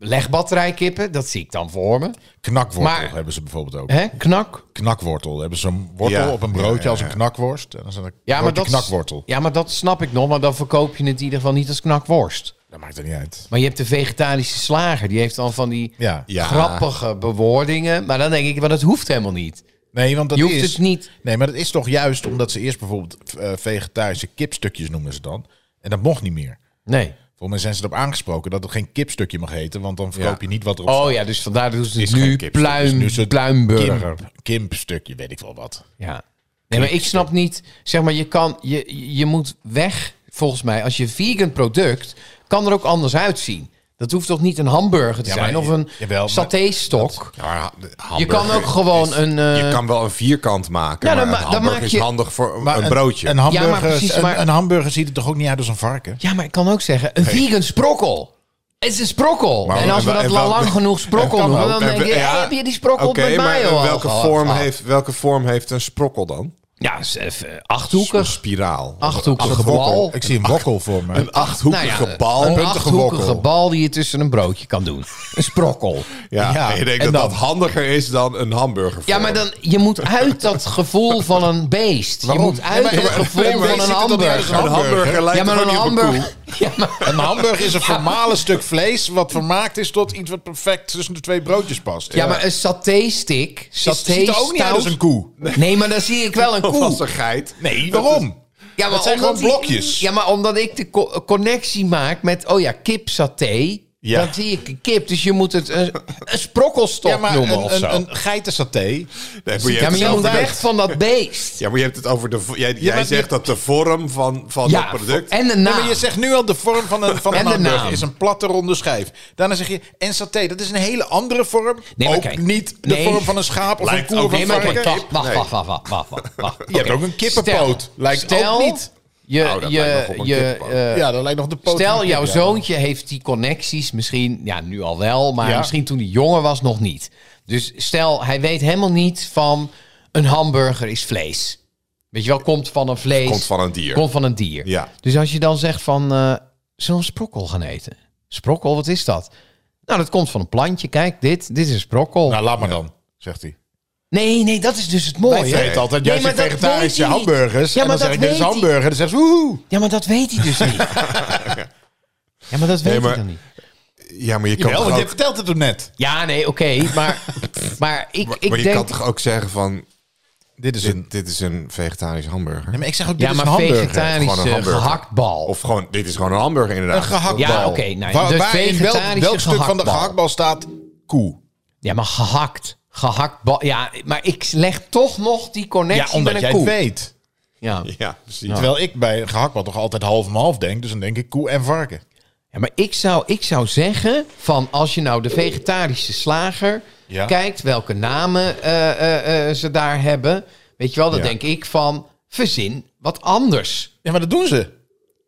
S5: legbatterijkippen, dat zie ik dan voor me.
S3: Knakwortel
S5: Maar-
S3: hebben ze bijvoorbeeld ook.
S5: Hè, knak.
S3: Knakwortel. Hebben ze een wortel
S2: Ja,
S3: op een broodje
S2: ja, ja,
S3: als een
S2: ja.
S3: knakworst. En dan is dat een
S5: Ja maar,
S3: broodje
S5: dat,
S3: knakwortel.
S5: ja, maar dat snap ik nog. Maar dan verkoop je het in ieder geval niet als knakworst.
S3: Dat maakt er niet uit.
S5: Maar je hebt de vegetarische slager. Die heeft dan van die
S3: Ja.
S2: Ja.
S5: grappige bewoordingen. Maar dan denk ik, maar dat hoeft helemaal niet.
S3: Nee, want dat
S5: Je hoeft
S3: is...
S5: het niet...
S3: Nee, maar dat is toch juist omdat ze eerst bijvoorbeeld eh, vegetarische kipstukjes noemen ze dan. En dat mocht niet meer.
S5: Nee.
S3: Volgens mij zijn ze erop aangesproken dat het geen kipstukje mag heten, want dan verkoop
S2: Ja.
S3: je niet wat erop
S5: Oh ja, dus vandaar doen ze
S2: Is
S5: het
S2: geen
S5: nu
S2: kipstuk,
S3: is
S5: pluim,
S3: nu zo'n
S5: pluimburger.
S3: staat. Kimp, kimpstukje, weet ik wel wat.
S5: Ja. Nee, maar ik snap niet... Zeg maar, je, kan, je, je moet weg, volgens mij. Als je vegan product, kan er ook anders uitzien. Dat hoeft toch niet een hamburger te
S3: Ja, maar
S5: zijn?
S3: je-
S5: of een
S3: jawel, maar
S5: saté-stok?
S2: Ja, maar de
S5: Je
S2: hamburger
S5: kan ook gewoon
S2: is-
S5: een... eh,
S2: Je kan wel een vierkant maken,
S5: Ja,
S2: maar
S5: dan
S2: een
S5: ma- dan
S2: hamburger
S5: maak
S2: is
S5: je-
S2: handig voor een,
S3: een-
S2: broodje.
S3: Een,
S5: Ja,
S3: hamburger,
S5: maar precies,
S3: een-
S5: maar-
S3: een hamburger ziet er toch ook niet uit als een varken?
S5: Ja, maar ik kan ook zeggen, een vegan sprokkel. Het is een sprokkel.
S2: Maar-
S5: en als we
S2: en-
S5: dat
S2: en
S5: lang
S2: wel-
S5: genoeg sprokkel
S3: kan
S5: noemen,
S3: ook.
S5: dan
S2: En
S5: denk
S2: we-
S5: je,
S2: ja,
S5: hey, heb je die sprokkel
S2: Oké,
S5: met
S2: maar
S5: mij
S2: eh,
S5: al
S2: welke,
S5: gehad? Ah.
S2: vorm heeft, welke vorm heeft een sprokkel dan?
S5: Ja, is even
S2: Een
S5: achthoekig.
S2: spiraal.
S5: Achthoekige
S3: Wokkel.
S5: bal.
S3: Ik zie een wokkel voor me.
S2: Een achthoekige
S5: Nou ja,
S2: bal.
S5: Een
S2: puntige
S5: achthoekige
S2: wokkel.
S5: bal die je tussen een broodje kan doen. Een sprokkel.
S2: Ja,
S3: Ja,
S2: ik denk
S3: en
S2: dat dat
S3: dan?
S2: handiger is dan een hamburger.
S5: Ja, maar dan, je moet uit dat gevoel van een beest. Je
S3: Waarom?
S5: moet
S3: Nee,
S5: uit
S3: maar-
S5: het
S3: nee,
S5: gevoel
S3: maar je
S5: van
S3: ziet
S5: een
S3: het toch niet uit als
S5: hamburger.
S2: Een hamburger lijkt
S5: Ja, maar
S2: toch
S5: een
S2: ook niet op koe?
S5: hamburger... Ja, maar-
S3: Een hamburger is een formale stuk vlees wat vermaakt is tot iets wat perfect tussen de twee broodjes past.
S5: ja, maar een saté-stick...
S3: Het ziet er ook niet uit als een koe.
S5: Nee, maar dan zie ik wel een
S2: Of als
S5: koe.
S2: een geit.
S3: Nee, waarom?
S5: Ja, maar
S3: Dat zijn
S5: omdat
S3: gewoon
S5: die-
S3: blokjes.
S5: ja, maar omdat ik de co- connectie maak met, oh ja, kipsaté.
S2: Ja.
S5: Dan zie ik een kip, dus je moet het een, een sprokkelstok
S3: Ja, maar
S5: noemen of
S3: een,
S5: zo.
S3: een, een geitensaté.
S2: Nee, maar je
S5: ja,
S2: hebt
S5: maar je
S2: zelf
S5: moet
S2: uit.
S5: weg van dat beest.
S2: Ja, maar je hebt het over de. vo- Jij, jij
S3: maar
S2: zegt
S3: je-
S2: dat de vorm van, van
S5: Ja,
S2: het product.
S5: en de
S3: Nee,
S5: naam.
S3: maar je zegt nu al de vorm van een, van een
S5: En de
S3: hamburger
S5: naam.
S3: is een platte ronde schijf. Daarna zeg je en saté. Dat is een hele andere vorm.
S5: Nee, maar
S3: ook
S5: kijk.
S3: niet de
S5: Nee.
S3: vorm van een schaap of
S2: Lijkt
S3: een koe
S2: ook
S3: of een
S5: Nee, maar kijk,
S3: varken.
S5: wacht, wacht,
S2: Nee.
S5: wacht, wacht, wacht, wacht, wacht, wacht.
S3: Je hebt
S5: Oké.
S3: ook een kippenpoot.
S5: Stel-
S3: Lijkt ook
S5: stel
S3: niet. Nou,
S5: Je,
S2: Oh, dat
S5: je,
S2: lijkt nog op een
S5: je,
S2: kippenpoot.
S5: eh,
S3: Ja, dat lijkt nog de poot. van
S5: Stel,
S3: een
S5: jouw
S3: kip, ja.
S5: zoontje heeft die connecties misschien, ja, nu al wel, maar
S3: Ja.
S5: misschien toen hij jonger was nog niet. Dus stel, hij weet helemaal niet van een hamburger is vlees. Weet je wel, komt van een vlees.
S2: Komt van een dier.
S5: Komt van een dier.
S2: Ja.
S5: Dus als je dan zegt van, eh zullen we sprokkel gaan eten? Sprokkel, wat is dat? Nou, dat komt van een plantje. Kijk, dit, dit is een sprokkel.
S3: Nou, laat maar dan, zegt hij.
S5: nee, nee, dat is dus het
S3: Hij
S5: mooie.
S3: weet altijd, jij
S5: Oh, Nee, maar
S3: zegt
S5: dat
S3: vegetarische
S5: weet hij niet.
S3: hamburgers.
S5: Ja,
S3: en dan zeg
S5: maar dat
S3: ik, dit is
S5: weet hij.
S3: hamburger. Dan zegt ze, woehoe.
S5: Ja, maar dat weet hij dus niet. ja, maar dat weet
S2: maar-
S5: hij dan niet.
S2: Ja, maar je kan
S3: Jawel,
S2: toch
S3: want je
S2: ook,
S3: vertelt het hem net.
S5: Ja, nee, oké. maar, maar ik, ik
S2: maar je
S5: denk...
S2: kan toch ook zeggen van.
S3: Dit is een...
S2: Dit, dit is een vegetarische hamburger.
S3: Nee, maar ik zeg ook, dit
S5: ja,
S3: is
S5: maar eh,
S3: een hamburger.
S2: Gewoon een
S5: vegetarische
S2: hamburger.
S5: gehaktbal.
S2: Of gewoon, dit is gewoon een hamburger inderdaad.
S3: Een gehaktbal.
S5: Ja, oké, nou,
S3: Waar-
S5: dus
S3: waarin wel-
S5: vegetarische
S3: welk stuk van de
S5: gehaktbal.
S3: gehaktbal staat koe?
S5: ja, maar gehakt. Gehaktbal. Ja, maar ik leg toch nog die connectie met een koe.
S3: weet.
S5: Ja.
S2: Ja,
S5: Nou,
S2: precies.
S3: Terwijl ik bij een gehaktbal toch altijd half om half denk. Dus dan denk ik koe en varken.
S5: ja, maar ik zou, ik zou zeggen van als je nou de vegetarische slager
S3: Ja.
S5: kijkt welke namen eh, eh, eh, ze daar hebben. Weet je wel, dan
S3: Ja.
S5: denk ik van verzin wat anders.
S3: Ja, maar dat doen ze.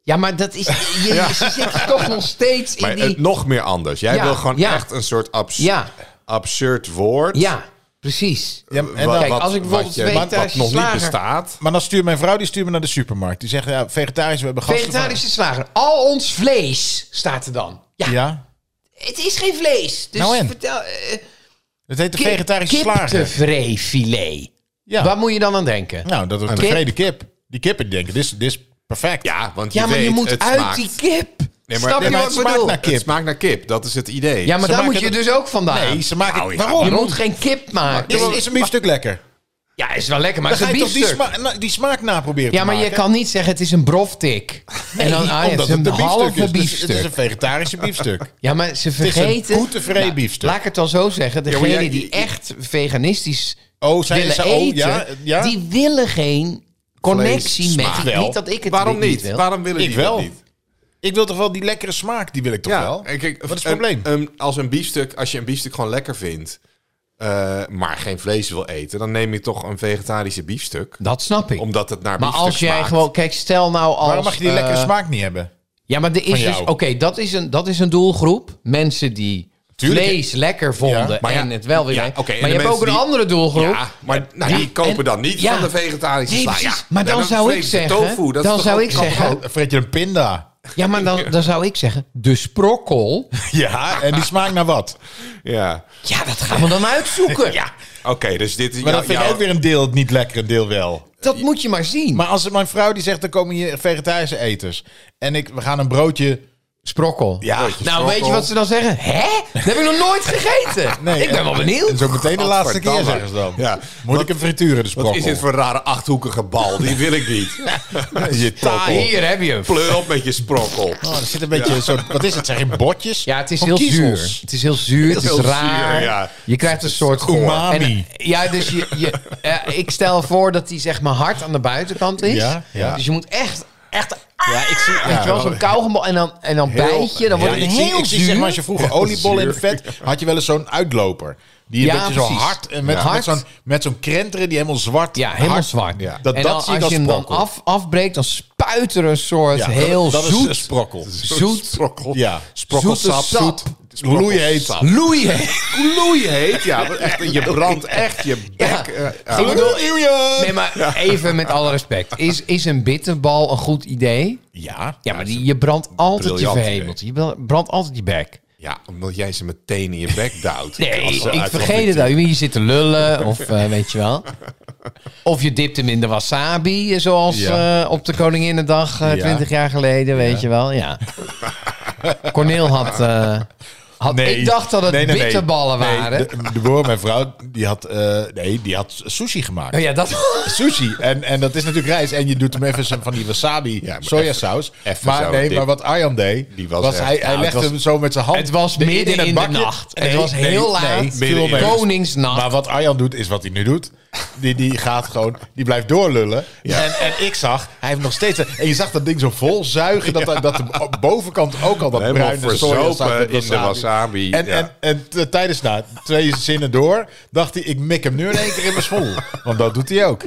S5: Ja, maar dat is, je, ze zitten toch nog steeds in
S2: Maar
S5: die...
S2: het nog meer anders. Jij
S5: Ja,
S2: wil gewoon
S5: ja.
S2: echt een soort abs-
S5: Ja.
S2: absurd woord.
S5: Ja, precies.
S3: Ja, en
S2: Wa-
S3: dan-
S5: Kijk, als
S2: wat
S5: ik bijvoorbeeld
S2: je-
S5: weet,
S2: wat
S5: daar
S2: nog
S5: is
S2: niet
S5: slager.
S2: bestaat.
S3: Eh, Maar dan stuurt mijn vrouw, die stuurt me naar de supermarkt. Die zegt, ja, vegetarisch, we hebben gasten.
S5: Vegetarische slager. Al ons vlees staat er dan. Ja,
S3: van- Ja,
S5: het is geen vlees. Dus
S3: Nou en?
S5: vertel. eh,
S3: het heet de
S5: kip-
S3: vegetarische slager.
S5: Kiptevreefilet.
S3: Ja.
S5: Waar moet je dan aan denken?
S3: Nou, dat is een
S5: Kip.
S3: tevreden kip. Die kip, ik denk, dit is, dit is perfect.
S2: Ja, want je,
S5: ja, maar
S2: weet,
S5: je moet
S2: het
S5: uit
S2: smaakt,
S5: die kip.
S2: Nee, maar-
S5: Snap
S2: nee,
S5: je
S2: maar
S5: wat
S2: het
S5: ik
S2: smaakt
S5: bedoel?
S3: naar kip.
S2: Het smaakt naar kip, dat is het idee.
S5: Ja, maar daar moet
S3: maken
S5: je
S3: het-
S5: dus ook vandaan.
S3: Nee, ze maken...
S2: Nou, ja,
S3: waarom?
S5: je moet geen kip maken.
S3: Is, is een biefstuk lekker?
S5: Ja, is wel lekker, maar
S3: Dan
S5: het is
S3: ga
S5: een
S3: je toch die,
S5: biefstuk.
S3: sma nou, die smaak na proberen
S5: Ja,
S3: te
S5: maar
S3: maken?
S5: je kan niet zeggen het is een broftik. en dan ah, ja, het is een halve
S3: Dus het is
S5: biefstuk.
S3: een vegetarische biefstuk.
S5: Ja, maar ze
S3: is een
S5: vergeten... Nou,
S3: goed tevreden biefstuk.
S5: Laat ik het dan zo zeggen.
S2: maar
S5: Degenen
S2: jij-
S5: die echt veganistisch
S3: Oh, zij
S5: willen
S3: ze-
S5: eten,
S3: oh, ja, ja.
S5: die willen geen connectie
S2: Vlees
S5: met...
S2: smaakt
S3: wel.
S5: Niet dat ik het
S2: Waarom
S5: Dus niet
S2: niet?
S5: wil.
S2: Waarom willen
S3: Ik
S2: die dat
S3: wel.
S2: niet?
S3: Ik wil toch wel die lekkere smaak, die wil ik toch wel?
S2: en kijk,
S3: Wat is
S2: een-
S3: het probleem?
S2: een- als, een biefstuk, als je een biefstuk gewoon lekker vindt, eh, maar geen vlees wil eten, dan neem je toch een vegetarische biefstuk.
S5: Dat snap ik.
S2: Omdat het naar
S5: maar
S2: biefstuk
S5: als jij
S2: smaakt.
S5: gewoon... Kijk, stel nou als...
S3: Waarom mag je die lekkere
S5: eh,
S3: smaak niet hebben?
S5: Ja, maar er
S3: van
S5: is dus...
S3: jou?
S5: Oké, dat, is een- dat is een doelgroep. Mensen die
S3: Tuurlijk.
S5: vlees lekker vonden
S3: Ja,
S2: maar ja,
S5: en het wel weer...
S2: ja,
S5: eten.
S2: oké, en
S5: maar
S2: de
S5: je hebt ook
S2: mensen
S5: een
S2: die-
S5: andere doelgroep.
S2: Ja, maar nou, die
S5: Ja,
S2: kopen
S5: en-
S2: dan niet
S5: ja.
S2: van de vegetarische
S5: Nee,
S2: sla.
S5: precies.
S2: Ja,
S5: Maar dan zou ik
S2: vreet ze
S5: zeggen-
S2: Tofu, dat
S5: dan
S2: is toch
S5: zou
S2: ook-
S5: ik
S2: kan toch
S5: zeggen-
S2: ook?
S3: Dan Vreet je een pinda?
S5: Ja, maar dan, dan zou ik zeggen, de sprokkel...
S3: Ja, en die smaakt naar wat?
S2: Ja,
S5: Ja, dat gaan we dan uitzoeken. ja.
S2: oké, dus dit is
S3: Maar
S2: jou-
S3: dan vind ik
S2: jou-
S3: ook weer een deel niet lekker, een deel wel.
S5: Dat moet je maar zien.
S3: Maar als mijn vrouw die zegt, dan komen hier vegetarische eters. En ik, we gaan een broodje...
S5: Sprokkel.
S3: Ja,
S5: nou,
S2: sprokkel.
S5: weet je wat ze dan zeggen? Hè? Dat heb ik nog nooit gegeten.
S3: Nee,
S5: ik ben
S3: en-
S5: wel benieuwd.
S3: En zo meteen de laatste keer
S2: Godverdamme.
S3: zeggen ze dan.
S2: Ja.
S3: Moet ik hem frituren, de sprokkel?
S2: Wat is dit voor een rare achthoekige bal? Die wil ik niet.
S3: Je
S5: Ah,
S3: taai.
S5: hier heb je hem.
S2: Pleur op met je sprokkel.
S3: Oh, er zit een beetje een soort... Wat is het? Zijn geen botjes?
S5: Ja, het is
S3: Van
S5: heel
S3: kiezels.
S5: zuur. Het is heel zuur, het is
S2: Heel
S5: raar.
S2: zuur, ja.
S5: Je krijgt een soort
S3: umami.
S5: En, ja, dus je, je, eh, ik stel voor dat die zeg maar hard aan de buitenkant is.
S3: Ja, ja.
S5: Dus je moet echt, echt ah,
S3: Ja, ik zie...
S5: weet je wel, zo'n kauwgom en dan, en dan bijt je. Dan wordt
S3: Ja,
S5: het
S3: ik zie-
S5: heel
S3: ik zie,
S5: zuur.
S3: zeg maar, als je vroeger oliebollen in het vet, had je wel eens zo'n uitloper. Die een
S5: Ja,
S3: beetje zo
S5: precies.
S3: hard en met,
S5: Ja.
S3: met zo'n met zo'n krenteren die helemaal zwart.
S5: ja, helemaal
S3: hard-
S5: zwart.
S3: Ja.
S5: Dat,
S3: Dat,
S5: en
S3: dat
S5: dan,
S3: zie ik
S5: als
S3: als
S5: je hem dan
S3: sprokkel.
S5: af, afbreekt, dan spuit er een soort
S3: Ja, dat-
S5: heel
S3: dat, is
S5: zoet,
S3: een sprokkel.
S5: zoet,
S2: Sprokkel.
S3: Ja.
S2: Sprokkelsap.
S5: Zoete sap.
S2: Zoet.
S3: Loeiheet.
S2: Sprokkelsap.
S5: loeien.
S2: Loeiheet. Ja, want echt, je brandt echt je bek. eh, Ja.
S5: Ik bedoel, Nee,
S3: Ja.
S5: maar even met alle respect. Is, is een bitterbal een goed idee?
S3: Ja.
S5: Ja, maar die, je brandt altijd je
S2: briljant
S5: verhemeld. Je bra- brandt altijd je bek.
S2: Ja, omdat jij ze meteen in je bek duwt.
S5: Nee,
S2: Als ze
S5: ik
S2: uit-
S5: vergeet het al. Je zit te lullen of eh, weet je wel. Of je dipt hem in de wasabi, eh, zoals
S3: Ja.
S5: eh, op de Koninginnedag eh
S3: Ja.
S5: 20 jaar geleden, weet je wel. Ja. Corneel had eh, Had,
S3: Nee.
S5: Ik dacht dat het
S3: Nee, nee, nee.
S5: bitterballen
S3: Nee,
S5: waren.
S3: de, de broer, mijn vrouw, die had, eh, nee, die had sushi gemaakt.
S5: Oh ja, dat...
S3: Sushi. En, en dat is natuurlijk rijst. En je doet hem even zo van die wasabi
S2: maar
S3: sojasaus.
S2: even- even
S3: maar
S2: zo
S3: nee,
S2: dik.
S3: maar wat Arjan deed,
S2: Die was
S3: was,
S2: echt-
S3: hij,
S2: nou,
S3: hij
S2: het
S3: legde
S2: was-
S3: hem zo met zijn hand
S5: Het was
S3: in
S5: midden
S3: het
S5: in de
S3: bakje.
S5: nacht. Het was
S3: nee,
S5: heel
S3: nee,
S5: laat.
S3: nee,
S2: Midden
S3: veel
S2: in de
S3: meer.
S5: Koningsnacht.
S3: Maar wat Arjan doet, is wat hij nu doet. Die, die gaat gewoon, die blijft doorlullen. En, en ik zag, hij heeft nog steeds... En je zag dat ding zo vol zuigen, dat, dat de bovenkant ook al dat
S2: Helemaal
S3: bruine
S2: verzopen
S3: sojasaus met
S2: in de wasabi,
S3: En,
S2: ja.
S3: en, en t- tijdens na twee zinnen door, dacht hij, ik mik hem nu in één keer in mijn school. Want dat doet hij ook.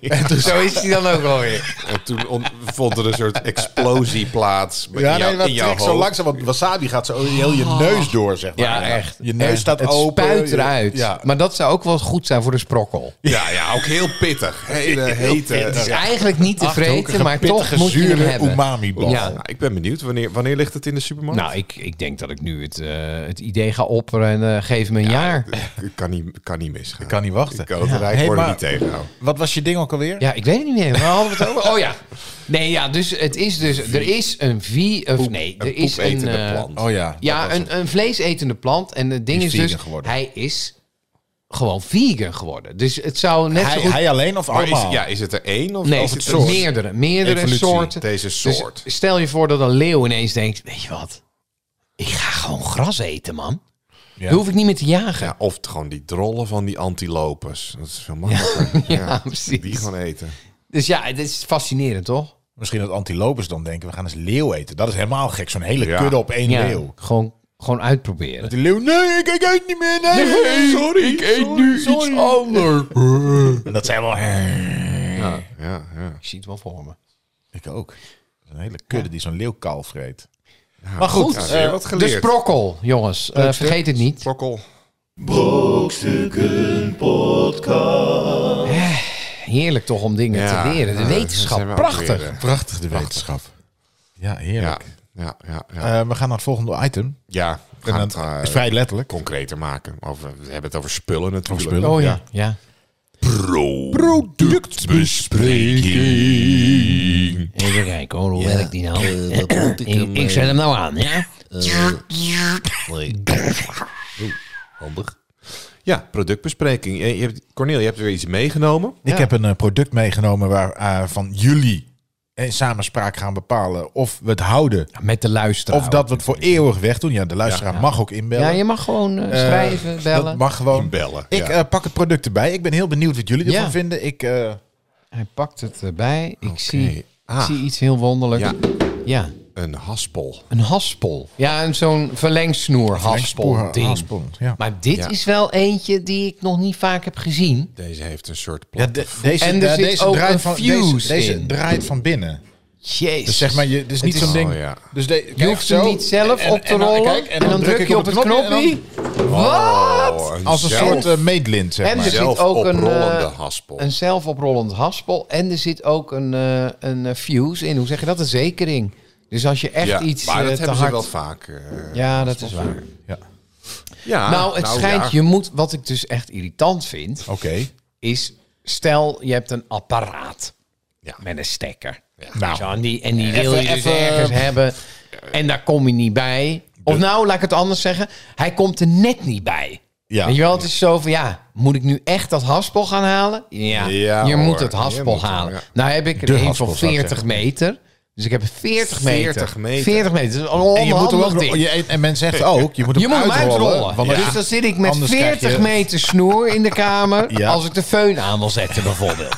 S3: En toen
S5: Zo is hij dan ook alweer.
S2: En toen on- vond er een soort explosie plaats in,
S3: Ja,
S2: jou-
S3: nee, dat
S2: in jouw
S3: trekt
S2: hoofd.
S3: zo langzaam, want wasabi gaat zo heel je neus door, zeg maar.
S5: Ja, echt.
S3: Je neus
S5: Echt.
S3: staat
S5: het
S3: open.
S5: spuit eruit.
S3: Ja.
S5: Maar dat zou ook wel goed zijn voor de sprokkel.
S2: Ja, ja, ook heel pittig. Hele hete.
S5: Het is
S2: Ja.
S5: eigenlijk niet te vreten, maar toch moet je hem
S3: zure
S5: hebben.
S3: umami-bal.
S5: Ja.
S2: Nou, ik ben benieuwd, wanneer, wanneer ligt het in de supermarkt?
S5: Nou, ik, ik denk dat ik nu het, eh, het idee ga opperen en eh, geef me een jaar.
S2: Ik kan niet, kan niet misgaan.
S3: Ik kan niet wachten.
S2: Ik kan het Rijk
S3: Hey,
S2: worden
S3: maar-
S2: niet tegenhouden.
S3: Wat was je ding ook alweer?
S5: Ja, ik weet het niet meer. Waar hadden we het over? Oh ja. Nee, ja, dus het is dus... Er is een vie... Of, nee, er is een...
S2: poepetende
S5: eh,
S2: plant.
S3: Oh ja.
S5: Ja, een, een vleesetende plant. En het ding
S3: Die
S5: is,
S3: is
S5: dus,
S3: vegan geworden.
S5: hij is gewoon vegan geworden. Dus het zou net
S3: Hij,
S5: zo goed...
S3: hij alleen of
S2: Maar
S3: allemaal?
S2: is, ja, is het er één of
S5: nee,
S2: of
S5: het
S2: het een-
S5: meerdere, meerdere
S2: Evolutie,
S5: soorten.
S2: deze
S5: Dus
S2: soort.
S5: stel je voor dat een leeuw ineens denkt... Weet je wat? Ik ga gewoon gras eten, man.
S3: Ja.
S5: Daar hoef ik niet meer te jagen.
S2: Ja, of t- gewoon die drollen van die antilopes. Dat is veel makkelijker.
S5: Ja, precies.
S2: Die gewoon eten.
S5: Dus ja, het is fascinerend, toch?
S3: Misschien dat antilopers dan denken, we gaan eens leeuw eten. Dat is helemaal gek, zo'n hele
S2: Ja.
S3: kudde op één
S5: Ja,
S3: leeuw.
S5: Gewoon, gewoon uitproberen.
S3: Dat die leeuw, nee, ik, ik eet niet meer, nee, sorry. Ik eet nu iets
S5: Oh,
S3: anders. en dat zijn wel...
S2: Ja, ja.
S5: Ik zie het wel voor me.
S3: Ik ook. Dat is een hele kudde die zo'n leeuw kaal vreet.
S5: maar goed,
S2: ja,
S5: eh,
S2: weer wat
S5: de
S2: geleerd.
S5: sprokkel, jongens. Eh, vergeet het niet.
S2: Sprokkel.
S5: Heerlijk toch om dingen
S2: Ja,
S5: te leren. De
S2: ja,
S5: wetenschap,
S2: zijn we ook
S5: prachtig.
S2: weer, eh,
S3: Prachtig, de wetenschap. Ja,
S2: Ja,
S3: heerlijk.
S2: ja, ja.
S3: Eh,
S2: ja.
S3: we gaan naar het volgende item.
S2: ja we
S3: En
S2: gaan
S3: dat
S2: het eh,
S3: is vrij letterlijk.
S2: concreter maken. Over, we hebben het over spullen natuurlijk.
S3: spullen.
S5: Oh
S3: Ja.
S5: ja, ja.
S2: Productbespreking.
S5: Even kijken hoor, hoe werkt die nou? ik, ik zet hem nou aan, ja?
S2: Handig. Ja, productbespreking. Je, je hebt, Cornel, je hebt weer iets meegenomen.
S3: Ik
S5: Ja.
S3: heb een eh, product meegenomen waarvan jullie in samenspraak gaan bepalen of we het houden.
S5: Met de luisteraar.
S3: Of dat we het voor eeuwig wegdoen. Ja, de luisteraar mag ook inbellen.
S5: Ja, je mag gewoon eh, schrijven,
S3: Dat
S5: bellen.
S3: mag gewoon.
S2: Inbellen,
S3: Ik
S2: ja.
S3: eh, pak het product erbij. Ik ben heel benieuwd wat jullie
S5: Ja.
S3: ervan vinden. Ik, eh,
S5: Hij pakt het erbij. Ik, zie,
S2: Ah.
S5: ik zie iets heel wonderlijks.
S2: Ja.
S5: Ja.
S2: Een haspel.
S5: Een haspel. Ja, en zo'n verlengsnoer haspel
S3: Verlengspoor-
S5: ding.
S3: haspel, ja.
S5: Maar dit
S2: Ja.
S5: is wel eentje die ik nog niet vaak heb gezien.
S2: Deze heeft een soort
S3: ja,
S2: plat.
S3: de- deze,
S5: En er
S3: eh,
S5: zit
S3: deze,
S5: ook
S3: draait
S5: een
S3: van,
S5: fuse
S3: deze, deze
S5: in.
S3: draait van binnen.
S5: Jezus.
S3: Dus zeg maar, je, dit is niet
S5: Het
S3: zo'n ding.
S2: Oh, ja.
S3: dus de,
S5: Je hoeft hem niet zelf op te
S3: nou,
S5: rollen. en, dan druk je op het knopje. Wat?
S2: Oh,
S3: als een
S2: zelf-
S3: soort eh, meetlint, zeg
S5: En
S3: maar.
S5: dus- er zit
S2: zelf
S5: ook een,
S2: oprollende
S5: eh,
S2: haspel.
S5: een zelfoprollend haspel. En er zit ook een, eh, een eh, fuse in. Hoe zeg je dat? Een zekering. Dus als je echt
S2: ja,
S5: iets
S2: maar
S5: eh,
S2: dat
S5: te
S2: hebben ze
S5: hard...
S2: wel vaak. eh,
S5: ja, dat is waar.
S3: Ja.
S2: ja,
S5: nou, het schijnt,
S2: Ah, ja.
S5: je moet... Wat ik dus echt irritant vind,
S3: Oké.
S5: is... Stel, je hebt een apparaat
S2: Ja.
S5: met een stekker.
S3: Nou.
S5: Zo, en die, en die wil je
S3: Even-
S5: dus
S3: even-
S5: ergens hebben. En daar kom je niet bij. Of nou, laat ik het anders zeggen. Hij komt er net niet bij.
S3: Ja.
S5: Weet je wel, het is zo van, ja, moet ik nu echt dat haspel gaan halen? Ja,
S2: Ja,
S5: je
S2: hoor.
S5: moet het
S2: Je
S5: haspel
S2: moet hem,
S5: halen.
S2: ja.
S5: Nou heb ik er
S3: De
S5: een
S3: haspel,
S5: van
S3: zou ik
S5: 40 meter. Dus ik heb 40 meter.
S2: 40 meter.
S5: 40 meter, dat is een
S3: En, je moet hem
S5: onhandig
S3: ook,
S5: ding.
S3: je, en men zegt ook, je moet hem
S5: Je moet hem
S3: uitrollen.
S5: uitrollen.
S3: want
S5: Dus dan
S3: anders-
S5: zit ik met
S3: anders krijg
S5: 40
S3: je-
S5: meter snoer in de kamer...
S3: Ja.
S5: als ik de föhn aan wil zetten bijvoorbeeld.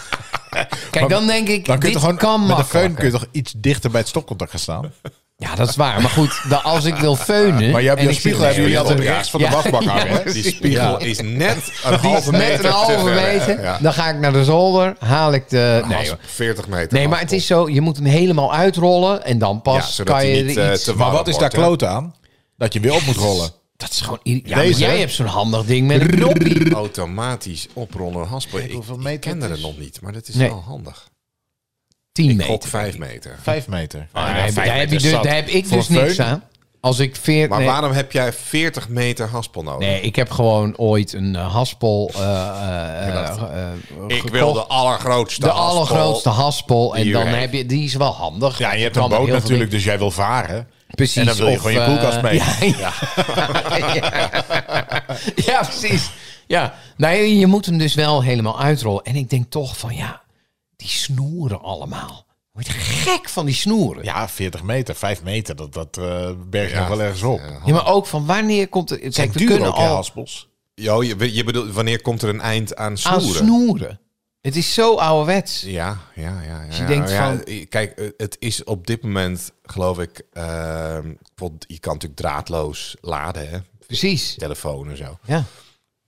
S5: Kijk, dan denk ik,
S3: Dan kun je toch
S5: dit
S3: gewoon,
S5: kan
S3: met de
S5: makkelijker.
S3: föhn kun je toch iets dichter bij het stopcontact gaan staan?
S5: Ja, dat is waar. Maar goed, dan als ik wil feunen...
S3: Maar jij hebt
S5: en
S3: je
S5: ik zit
S3: spiegel, hebben
S5: in-
S3: jullie altijd
S2: Ja.
S3: rechts van de
S5: Ja.
S3: wachtbak hangen.
S5: Ja.
S3: hè?
S2: Die spiegel
S3: Ja.
S2: is net een
S5: Die
S2: halve
S5: is
S2: meter.
S5: met een halve
S2: te ver.
S5: meter. Nou,
S2: Ja.
S5: Dan ga ik naar de zolder, haal ik de...
S3: Oh,
S5: Nee,
S2: Hasp-
S5: hoor.
S2: 40 meter.
S5: nee maar het
S2: haspel.
S5: is zo, je moet hem helemaal uitrollen en dan
S2: Ja,
S5: pas
S2: zodat
S5: kan
S2: hij
S5: je
S2: niet,
S5: er
S2: eh,
S5: iets...
S2: te
S3: Maar
S2: warm
S3: wat is daar
S2: wordt, hè?
S3: kloot aan? Dat je weer op moet rollen.
S5: dat is gewoon... ir- Ja, maar
S3: Deze,
S5: jij
S3: hè?
S5: hebt zo'n handig ding met een knopje.
S2: Automatisch oprollen een haspel. Ik,
S3: hoeveel
S2: ik
S3: meter
S2: ken
S3: het
S2: er
S3: is.
S2: nog niet, maar dat is
S5: Nee.
S2: wel handig.
S5: 10
S2: Ook
S5: meter.
S2: 5 meter.
S3: Vijf meter.
S5: Nou, daar, heb- daar heb je dus- daar heb ik
S3: Voor
S5: dus
S3: een
S5: niks
S3: föhn?
S5: aan. Als ik veer...
S2: Maar
S5: nee.
S2: waarom heb jij 40 meter haspel nodig?
S5: Nee, ik heb gewoon ooit een eh, haspel eh, eh, eh,
S2: ik
S5: gekocht.
S2: wil de allergrootste
S5: de
S2: haspel.
S5: allergrootste haspel.
S2: die
S5: En
S2: u
S5: dan
S2: heeft.
S5: heb je, die is wel handig.
S3: Ja, je hebt
S5: Kan
S3: een
S5: met
S3: boot
S5: heel veel
S3: natuurlijk, dus jij wil varen.
S5: Precies.
S3: En dan wil je
S5: of,
S3: gewoon je
S5: eh,
S3: koelkast mee.
S5: Ja, ja. Ja, precies. Ja, nou, je je moet hem dus wel helemaal uitrollen. En ik denk toch van, ja, die snoeren allemaal. Je wordt gek van die snoeren. Ja,
S3: Ja, 40 meter, 5 meter, dat, dat eh, bergt nog wel ergens op. Ja.
S5: maar ook van wanneer komt er... Kijk, we
S3: duur
S5: kunnen
S3: ook, hè,
S5: al
S3: haspels.
S2: Jo, je, je bedoelt, wanneer komt er een eind aan
S5: aan
S2: snoeren?
S5: snoeren. Het is zo ouderwets.
S2: Ja, ja, ja. ja
S5: Dus je
S2: ja,
S5: denkt
S2: ja,
S5: van-
S2: Kijk, eh, het is op dit moment, geloof ik... ehm, bijvoorbeeld, je kan natuurlijk draadloos laden, hè?
S5: Precies.
S2: Telefoon en zo.
S5: Ja.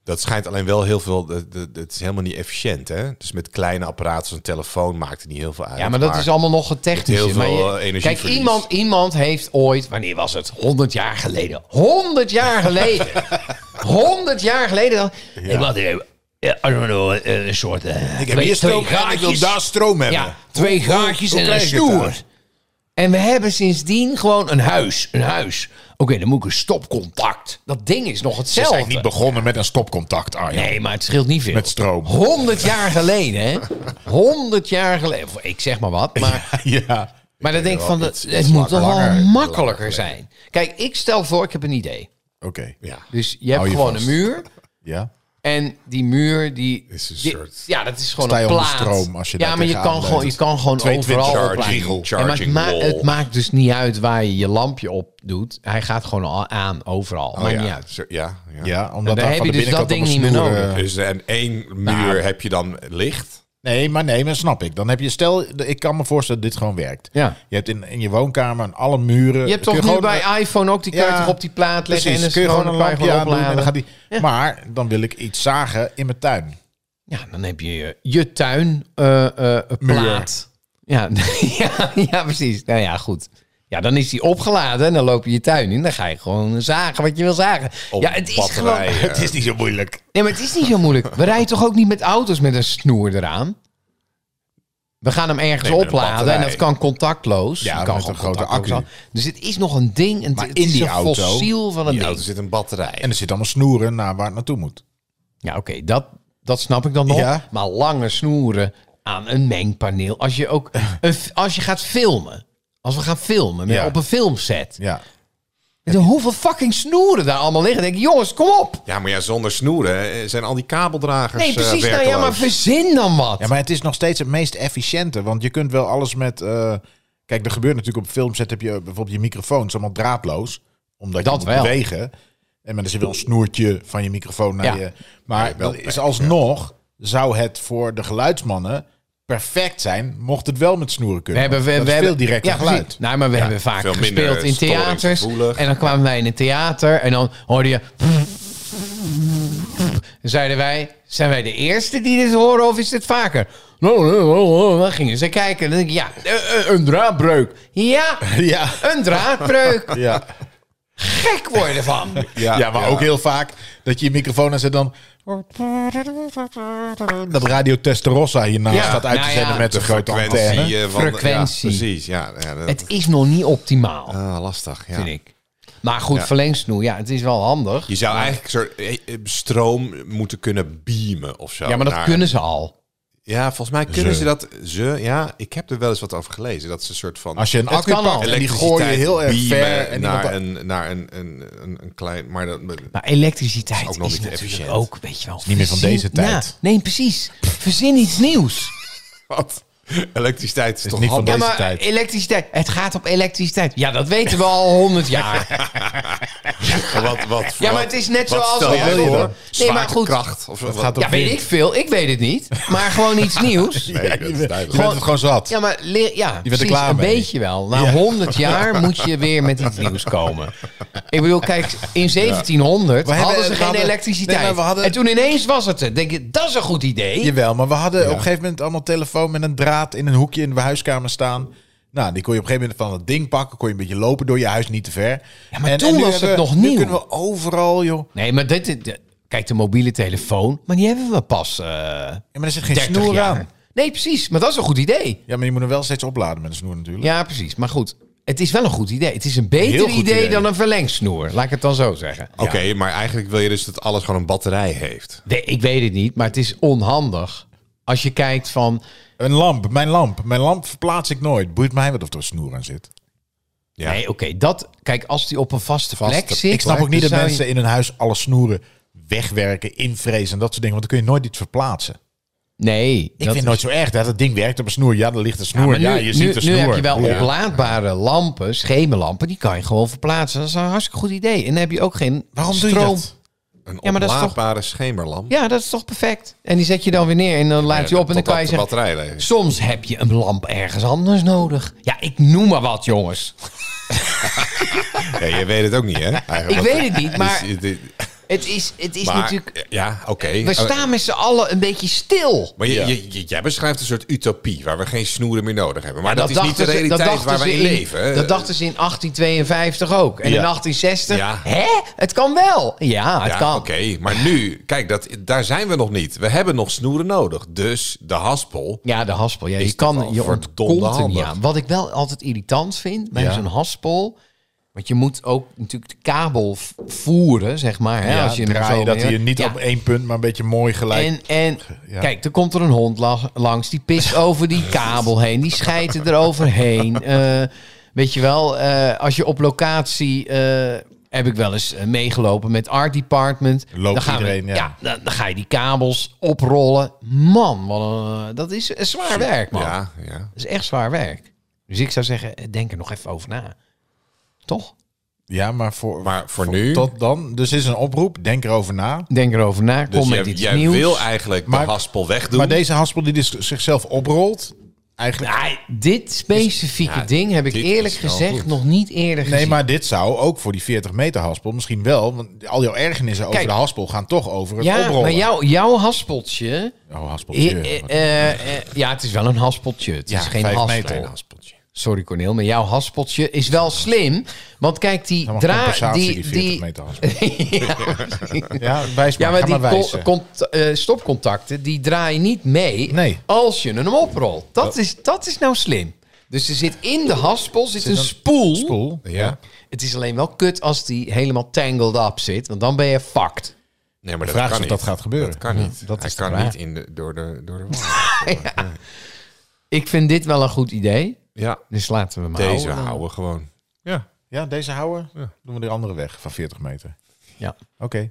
S2: Dat schijnt alleen wel heel veel... dat- dat- Het is helemaal niet efficiënt, hè? Dus met kleine apparaten als een telefoon maakt het niet heel veel uit.
S5: Ja, maar dat is allemaal nog
S2: Met
S5: getechnisch.
S2: heel
S5: Maar
S2: veel,
S5: je-
S2: eh, energie
S5: Kijk,
S2: verlies.
S5: iemand, iemand heeft ooit, wanneer was het? 100 jaar geleden. 100 jaar geleden. 100 jaar geleden. Dan, Ik had eh, eh, I don't know, eh, een soort. eh,
S3: Ik heb
S5: twee-
S3: hier
S5: twee
S3: stroom en ik wil
S5: gaatjes.
S3: daar stroom hebben.
S5: Ja, twee gaatjes
S3: hoe
S5: en een
S3: krijg ik het
S5: snoer.
S3: daar?
S5: En we hebben sindsdien gewoon een huis. Een huis. Oké, dan moet ik een stopcontact. Dat ding is nog
S3: Ze
S5: hetzelfde.
S3: zijn niet begonnen met een stopcontact, Arjan.
S5: Nee, maar het scheelt niet veel.
S3: Met stroom.
S5: 100 jaar geleden, hè? 100 jaar geleden. Of, Ik zeg maar wat, maar,
S3: Ja.
S5: maar dan denk ik van,
S2: iets-
S5: het,
S2: iets
S5: het moet toch wel
S2: langer-
S5: makkelijker zijn. Kijk, ik stel voor, ik heb een idee.
S3: Oké.
S2: Ja,
S5: Dus je hebt
S3: Hou je
S5: gewoon
S3: vast.
S5: een muur.
S3: Ja.
S5: En die muur, die...
S2: Is een
S5: die-
S2: soort-
S5: ja, dat is gewoon
S3: Sta je
S5: een
S3: onder
S5: plaat.
S3: stroom als je
S5: ja,
S3: daar
S5: maar je
S3: tegenaan
S5: kan, gewoon, je
S3: leunt.
S5: kan gewoon
S3: 22
S5: overal
S3: charging-
S5: opleggen.
S2: charging
S5: Ja, maar het, ma-
S2: wall.
S5: het maakt dus niet uit waar je je lampje op doet. Hij gaat gewoon al aan, overal.
S2: Oh,
S5: maakt
S2: ja.
S5: niet uit.
S2: Zo- Ja, ja.
S3: Ja, omdat
S5: dan
S3: daar
S5: heb
S3: van
S5: je
S3: de
S5: dus dat
S3: binnenkant
S5: ding
S3: op een
S5: niet meer
S3: snoer,
S5: nodig.
S3: eh,
S2: Dus eh, aan
S5: Nou,
S2: één muur heb je dan licht.
S3: Nee, maar nee, maar snap ik. Dan heb je, stel, ik kan me voorstellen dat dit gewoon werkt.
S5: Ja.
S3: Je hebt in, in je woonkamer en alle muren.
S5: Je hebt
S3: kun
S5: toch nu
S3: gewoon- eh,
S5: bij iPhone ook, die kun je
S3: Ja,
S5: toch op die plaat leggen
S3: Precies,
S5: en dan
S3: kun je gewoon een
S5: kan je
S3: lampje
S5: gewoon
S3: aandoen en
S5: opladen.
S3: dan gaat die... Maar dan wil ik iets zagen in mijn tuin.
S5: Ja, dan heb je je, je tuin eh, eh, plaat. Ja, ja, ja, precies. Nou ja, goed. Ja, dan is die opgeladen en dan loop je je tuin in. Dan ga je gewoon zagen wat je wil zagen.
S2: Op
S5: ja, het is
S2: batterijen.
S5: gewoon...
S2: Ja.
S3: is niet zo moeilijk.
S5: Nee, maar het is niet zo moeilijk. We rijden toch ook niet met auto's met een snoer eraan? We gaan hem ergens
S3: Nee, met een
S5: opladen en
S3: batterij.
S5: dat kan contactloos.
S3: Ja,
S5: Dat kan
S3: met een grote
S5: contactloos
S3: accu.
S5: zijn. Dus het is nog een ding. En
S3: Maar
S5: het
S3: in
S5: is
S3: die
S5: een
S3: auto-
S5: fossiel van een
S2: In de
S5: ding.
S2: auto zit een batterij.
S3: En er zit allemaal snoeren naar waar het naartoe moet.
S5: Ja, oké, dat, dat snap ik dan nog.
S3: Ja.
S5: Maar lange snoeren aan een mengpaneel. Als je ook een f- als je gaat filmen. Als we gaan filmen met-
S3: Ja.
S5: op een filmset.
S3: Ja.
S5: Weet je hoeveel fucking snoeren daar allemaal liggen? Dan denk ik, jongens, kom op.
S2: Ja, maar ja, zonder snoeren eh, zijn al die kabeldragers
S5: Nee, precies.
S2: eh,
S5: nou ja, maar
S2: werkeloos.
S5: verzin dan wat.
S3: ja, maar het is nog steeds het meest efficiënte. Want je kunt wel alles met... eh, kijk, er gebeurt natuurlijk op filmset heb je bijvoorbeeld je microfoon. Het is allemaal draadloos. Omdat
S5: Dat
S3: je moet
S5: wel.
S3: bewegen. En maar er zit wel een snoertje van je microfoon naar
S5: Ja.
S3: je... Maar
S2: wel
S3: dat is alsnog zou het voor de geluidsmannen perfect zijn... mocht het wel met snoeren kunnen. Want dat is veel directer
S5: ja,
S3: geluid.
S5: precies. Nou, maar we hebben vaak
S2: veel minder
S5: gespeeld in theaters.
S2: storingsgevoelig.
S5: En dan kwamen wij in een theater en dan hoorde je... En zeiden wij, zijn wij de eerste die dit horen of is dit vaker? Nou, nou, nou, nou, dan gingen ze kijken en dan denk ik, ja, eh, eh, een draadbreuk. Ja,
S3: Ja.
S5: een draadbreuk.
S3: Ja,
S5: Gek worden van.
S3: ja, maar ook heel vaak dat je je microfoon aanzet dan... Dat Radio Testarossa hiernaast
S5: Ja,
S3: staat uit te
S5: nou
S3: zenden
S5: ja.
S3: met zijn grote antenne.
S2: frequentie. eh, van de- ja,
S5: Frequentie.
S2: precies, ja. ja dat-
S5: Het is nog niet optimaal,
S2: ah, lastig, ja.
S5: vind ik. Maar goed, verlengsnoer, ja, het is wel handig.
S2: Je zou eigenlijk een soort eh, eh, stroom moeten kunnen beamen of zo.
S5: Ja, maar dat
S2: naar-
S5: kunnen ze al.
S2: Ja, volgens mij kunnen
S3: Ze.
S2: ze dat... Ze, ja, ik heb er wel eens wat over gelezen. Dat is een soort van...
S3: Als je een
S5: Het
S3: accu
S5: kan al.
S3: pakt en die gooi je heel erg
S2: beamen
S3: ver. En iemand
S2: naar,
S3: dan-
S2: een, naar een, een, een, een klein... Maar dat,
S5: Maar elektriciteit
S2: Is ook
S5: is,
S2: nog niet
S5: natuurlijk
S2: efficiënt.
S5: ook, weet je wel.
S3: niet meer van
S5: verzin-
S3: deze tijd.
S5: Ja, nee, precies. Verzin iets nieuws.
S2: wat? Elektriciteit is, toch
S3: niet van
S2: handig?
S5: Ja,
S3: Deze
S5: maar
S3: tijd.
S5: elektriciteit. Het gaat op elektriciteit. Ja, dat weten we al honderd jaar.
S2: Wat, wat,
S5: Ja, maar het is net
S2: wat
S5: zoals-
S2: stel jij
S5: Wat
S3: wil je
S2: voor?
S3: dan?
S5: Nee, maar goed.
S2: Zwaartekracht Of, wat,
S3: gaat op-
S5: Ja, weet ik veel. Ik weet het niet. Maar gewoon iets nieuws.
S2: Nee,
S3: je,
S2: dat is
S3: bent- je
S2: duidelijk.
S3: bent het gewoon zat.
S5: Ja, maar leer, ja,
S3: er
S5: precies,
S3: klaar
S5: een
S3: mee.
S5: beetje wel. Na honderd jaar moet je weer met iets nieuws komen. Ik bedoel, kijk, in 1700
S3: We hebben-
S5: hadden ze
S3: we
S5: geen
S3: hadden-
S5: elektriciteit.
S3: Nee, maar we hadden-
S5: En toen ineens was het er. Denk je, dat is een goed idee.
S3: Jawel, maar we hadden op een gegeven moment allemaal telefoon met een draad in een hoekje in de huiskamer staan. Nou, die kon je op een gegeven moment van dat ding pakken. Kon je een beetje lopen door je huis, niet te ver. Ja,
S5: maar toen was het nog nieuw.
S3: Nu kunnen we overal, joh.
S5: Nee, maar dit, dit- dit- kijk, de mobiele telefoon, maar die hebben we pas eh
S3: Ja, maar er zit geen
S5: 30
S3: snoer
S5: jaar.
S3: aan.
S5: Nee, precies. Maar dat is een goed idee.
S3: Ja, maar je moet hem wel steeds opladen met een snoer natuurlijk.
S5: Ja, precies. Maar goed, het is wel een goed idee. Het is een beter
S3: Heel
S5: idee,
S3: goed idee.
S5: dan een verlengsnoer. Laat ik het dan zo zeggen.
S2: Oké, maar eigenlijk wil je dus dat alles gewoon een batterij heeft.
S5: Nee, ik weet het niet, maar het is onhandig. Als je kijkt van...
S3: Een lamp, mijn lamp. Mijn lamp verplaats ik nooit. Boeit mij wat of er een snoer aan zit.
S2: Ja.
S5: Nee, oké. dat, kijk, als die op een vaste, plek zit...
S3: Ik snap ook niet
S5: dan
S3: dat
S5: zou je-
S3: mensen in hun huis alle snoeren wegwerken, invrezen en dat soort dingen. Want dan kun je nooit iets verplaatsen.
S5: Nee.
S3: Ik vind het nooit zo erg dat het ding werkt op een snoer. Ja, er ligt een snoer. Ja,
S5: Maar nu,
S3: je
S5: nu,
S3: ziet een
S5: nu
S3: snoer.
S5: heb je wel
S3: Ja.
S5: oplaadbare lampen, schemelampen, die kan je gewoon verplaatsen. Dat is een hartstikke goed idee. En dan heb je ook geen
S3: Waarom doe
S5: stroom.
S3: je dat?
S2: Een
S5: Ja, maar dat is toch-
S2: oplaadbare schemerlamp.
S5: Ja, dat is toch perfect. En die zet je dan weer neer en dan laat je op en dan
S2: Totdat
S5: kan je
S2: de
S5: zeggen...
S2: batterij leeg is.
S5: Soms heb je een lamp ergens anders nodig. Ja, ik noem maar wat, jongens.
S2: Ja, je weet het ook niet, hè? Eigenlijk,
S5: Ik
S2: want-
S5: weet het niet, maar-
S2: Dus, eh, dit-
S5: Het is, het is
S2: maar eh,
S5: natuurlijk...
S2: ja, oké. Oh,
S5: We staan met z'n allen een beetje stil.
S2: Maar je, je- je- jij beschrijft een soort utopie waar we geen snoeren meer nodig hebben. Maar dat, is niet de
S5: dachten ze- dat
S2: realiteit
S5: dachten
S2: waar
S5: ze
S2: we in leven. hè?
S5: Dat dachten ze in 1852 ook. En
S2: Ja.
S5: in 1860.
S2: Ja.
S5: Hè? Het kan wel. Ja, het
S2: ja,
S5: kan.
S2: oké. Maar nu, kijk, dat, daar zijn we nog niet. We hebben nog snoeren nodig. Dus de haspel.
S5: Ja, de haspel. Ja,
S2: Is
S5: je
S2: toch wel
S5: kan je
S2: verdomde
S5: ontkomt er niet
S2: handig.
S5: aan. Wat ik wel altijd irritant vind bij
S3: Ja.
S5: zo'n haspel... Want je moet ook natuurlijk de kabel v- voeren, zeg maar. Hè,
S3: Ja,
S5: als je hem
S3: draai
S5: zo
S3: je dat
S5: meer-
S3: hier niet
S5: Ja.
S3: op één punt, maar een beetje mooi gelijk.
S5: En, en
S3: Ja.
S5: kijk, er komt er een hond la- langs. Die pist over die kabel heen. Die scheidt er overheen. Eh, weet je wel, eh, als je op locatie... eh, heb ik wel eens eh, meegelopen met Art Department.
S3: Loopt
S5: dan gaan
S3: iedereen,
S5: we,
S3: ja.
S5: dan, dan ga je die kabels oprollen. Man, wat een- dat is eh, zwaar werk, man.
S2: Ja, ja.
S5: Dat is echt zwaar werk. Dus ik zou zeggen, eh, denk er nog even over na. Toch?
S3: ja, maar voor,
S2: Maar voor nu.
S3: tot dan. Dus is een oproep. Denk erover na.
S5: Denk erover na. Kom
S2: dus
S5: met
S2: jij,
S5: iets
S2: jij
S5: nieuws.
S2: wil eigenlijk
S3: Maar-
S2: de haspel wegdoen.
S3: Maar deze haspel die dus zichzelf oprolt, eigenlijk...
S5: Ah, dit specifieke
S2: Ja,
S5: ding heb ik
S2: dit
S5: eerlijk
S2: is wel
S5: gezegd
S2: goed.
S5: nog niet eerder gezien.
S3: Nee, maar dit zou ook voor die 40 meter haspel misschien wel, want al jouw ergernissen over
S5: Kijk.
S3: de haspel gaan toch over het
S5: ja,
S3: oprollen.
S5: maar jouw, jouw haspeltje...
S3: Oh, haspeltje.
S5: eh, eh, eh, eh, ja, het is wel een haspeltje. Het
S3: Ja,
S5: is geen
S3: vijf
S5: haspel.
S3: meter.
S2: haspeltje.
S5: Sorry Corneel, maar jouw haspeltje is wel slim. Want kijk, die
S3: maar
S5: draad...
S3: compensatie,
S5: Die,
S3: die 40
S5: die,
S3: meter haspel.
S5: ja,
S3: Ja, wijs maar.
S5: Ja, maar
S3: Ga
S5: die
S3: maar
S5: col-
S3: wijzen.
S5: cont- eh, stopcontacten, die draai je niet mee
S3: Nee.
S5: als je hem oprolt. Dat is, dat is nou slim. Dus er zit in de haspel zit een,
S3: een
S5: spoel.
S3: Spoel.
S2: Ja.
S5: Het is alleen wel kut als die helemaal tangled up zit. Want dan ben je fucked.
S2: Nee, maar
S3: De
S2: dat
S3: vraag
S2: kan
S3: is of
S2: niet.
S3: dat gaat gebeuren.
S2: Dat kan niet.
S3: dat
S2: Hij
S3: is de
S2: kan
S3: vraag.
S2: niet in de, door de, door de wand.
S5: Ik vind dit wel een goed idee.
S2: Ja,
S5: Dus laten we maar
S2: deze
S5: houden.
S2: houden we gewoon.
S3: Ja. ja, deze houden. Doen we de andere weg van 40 meter.
S5: Ja.
S3: Oké.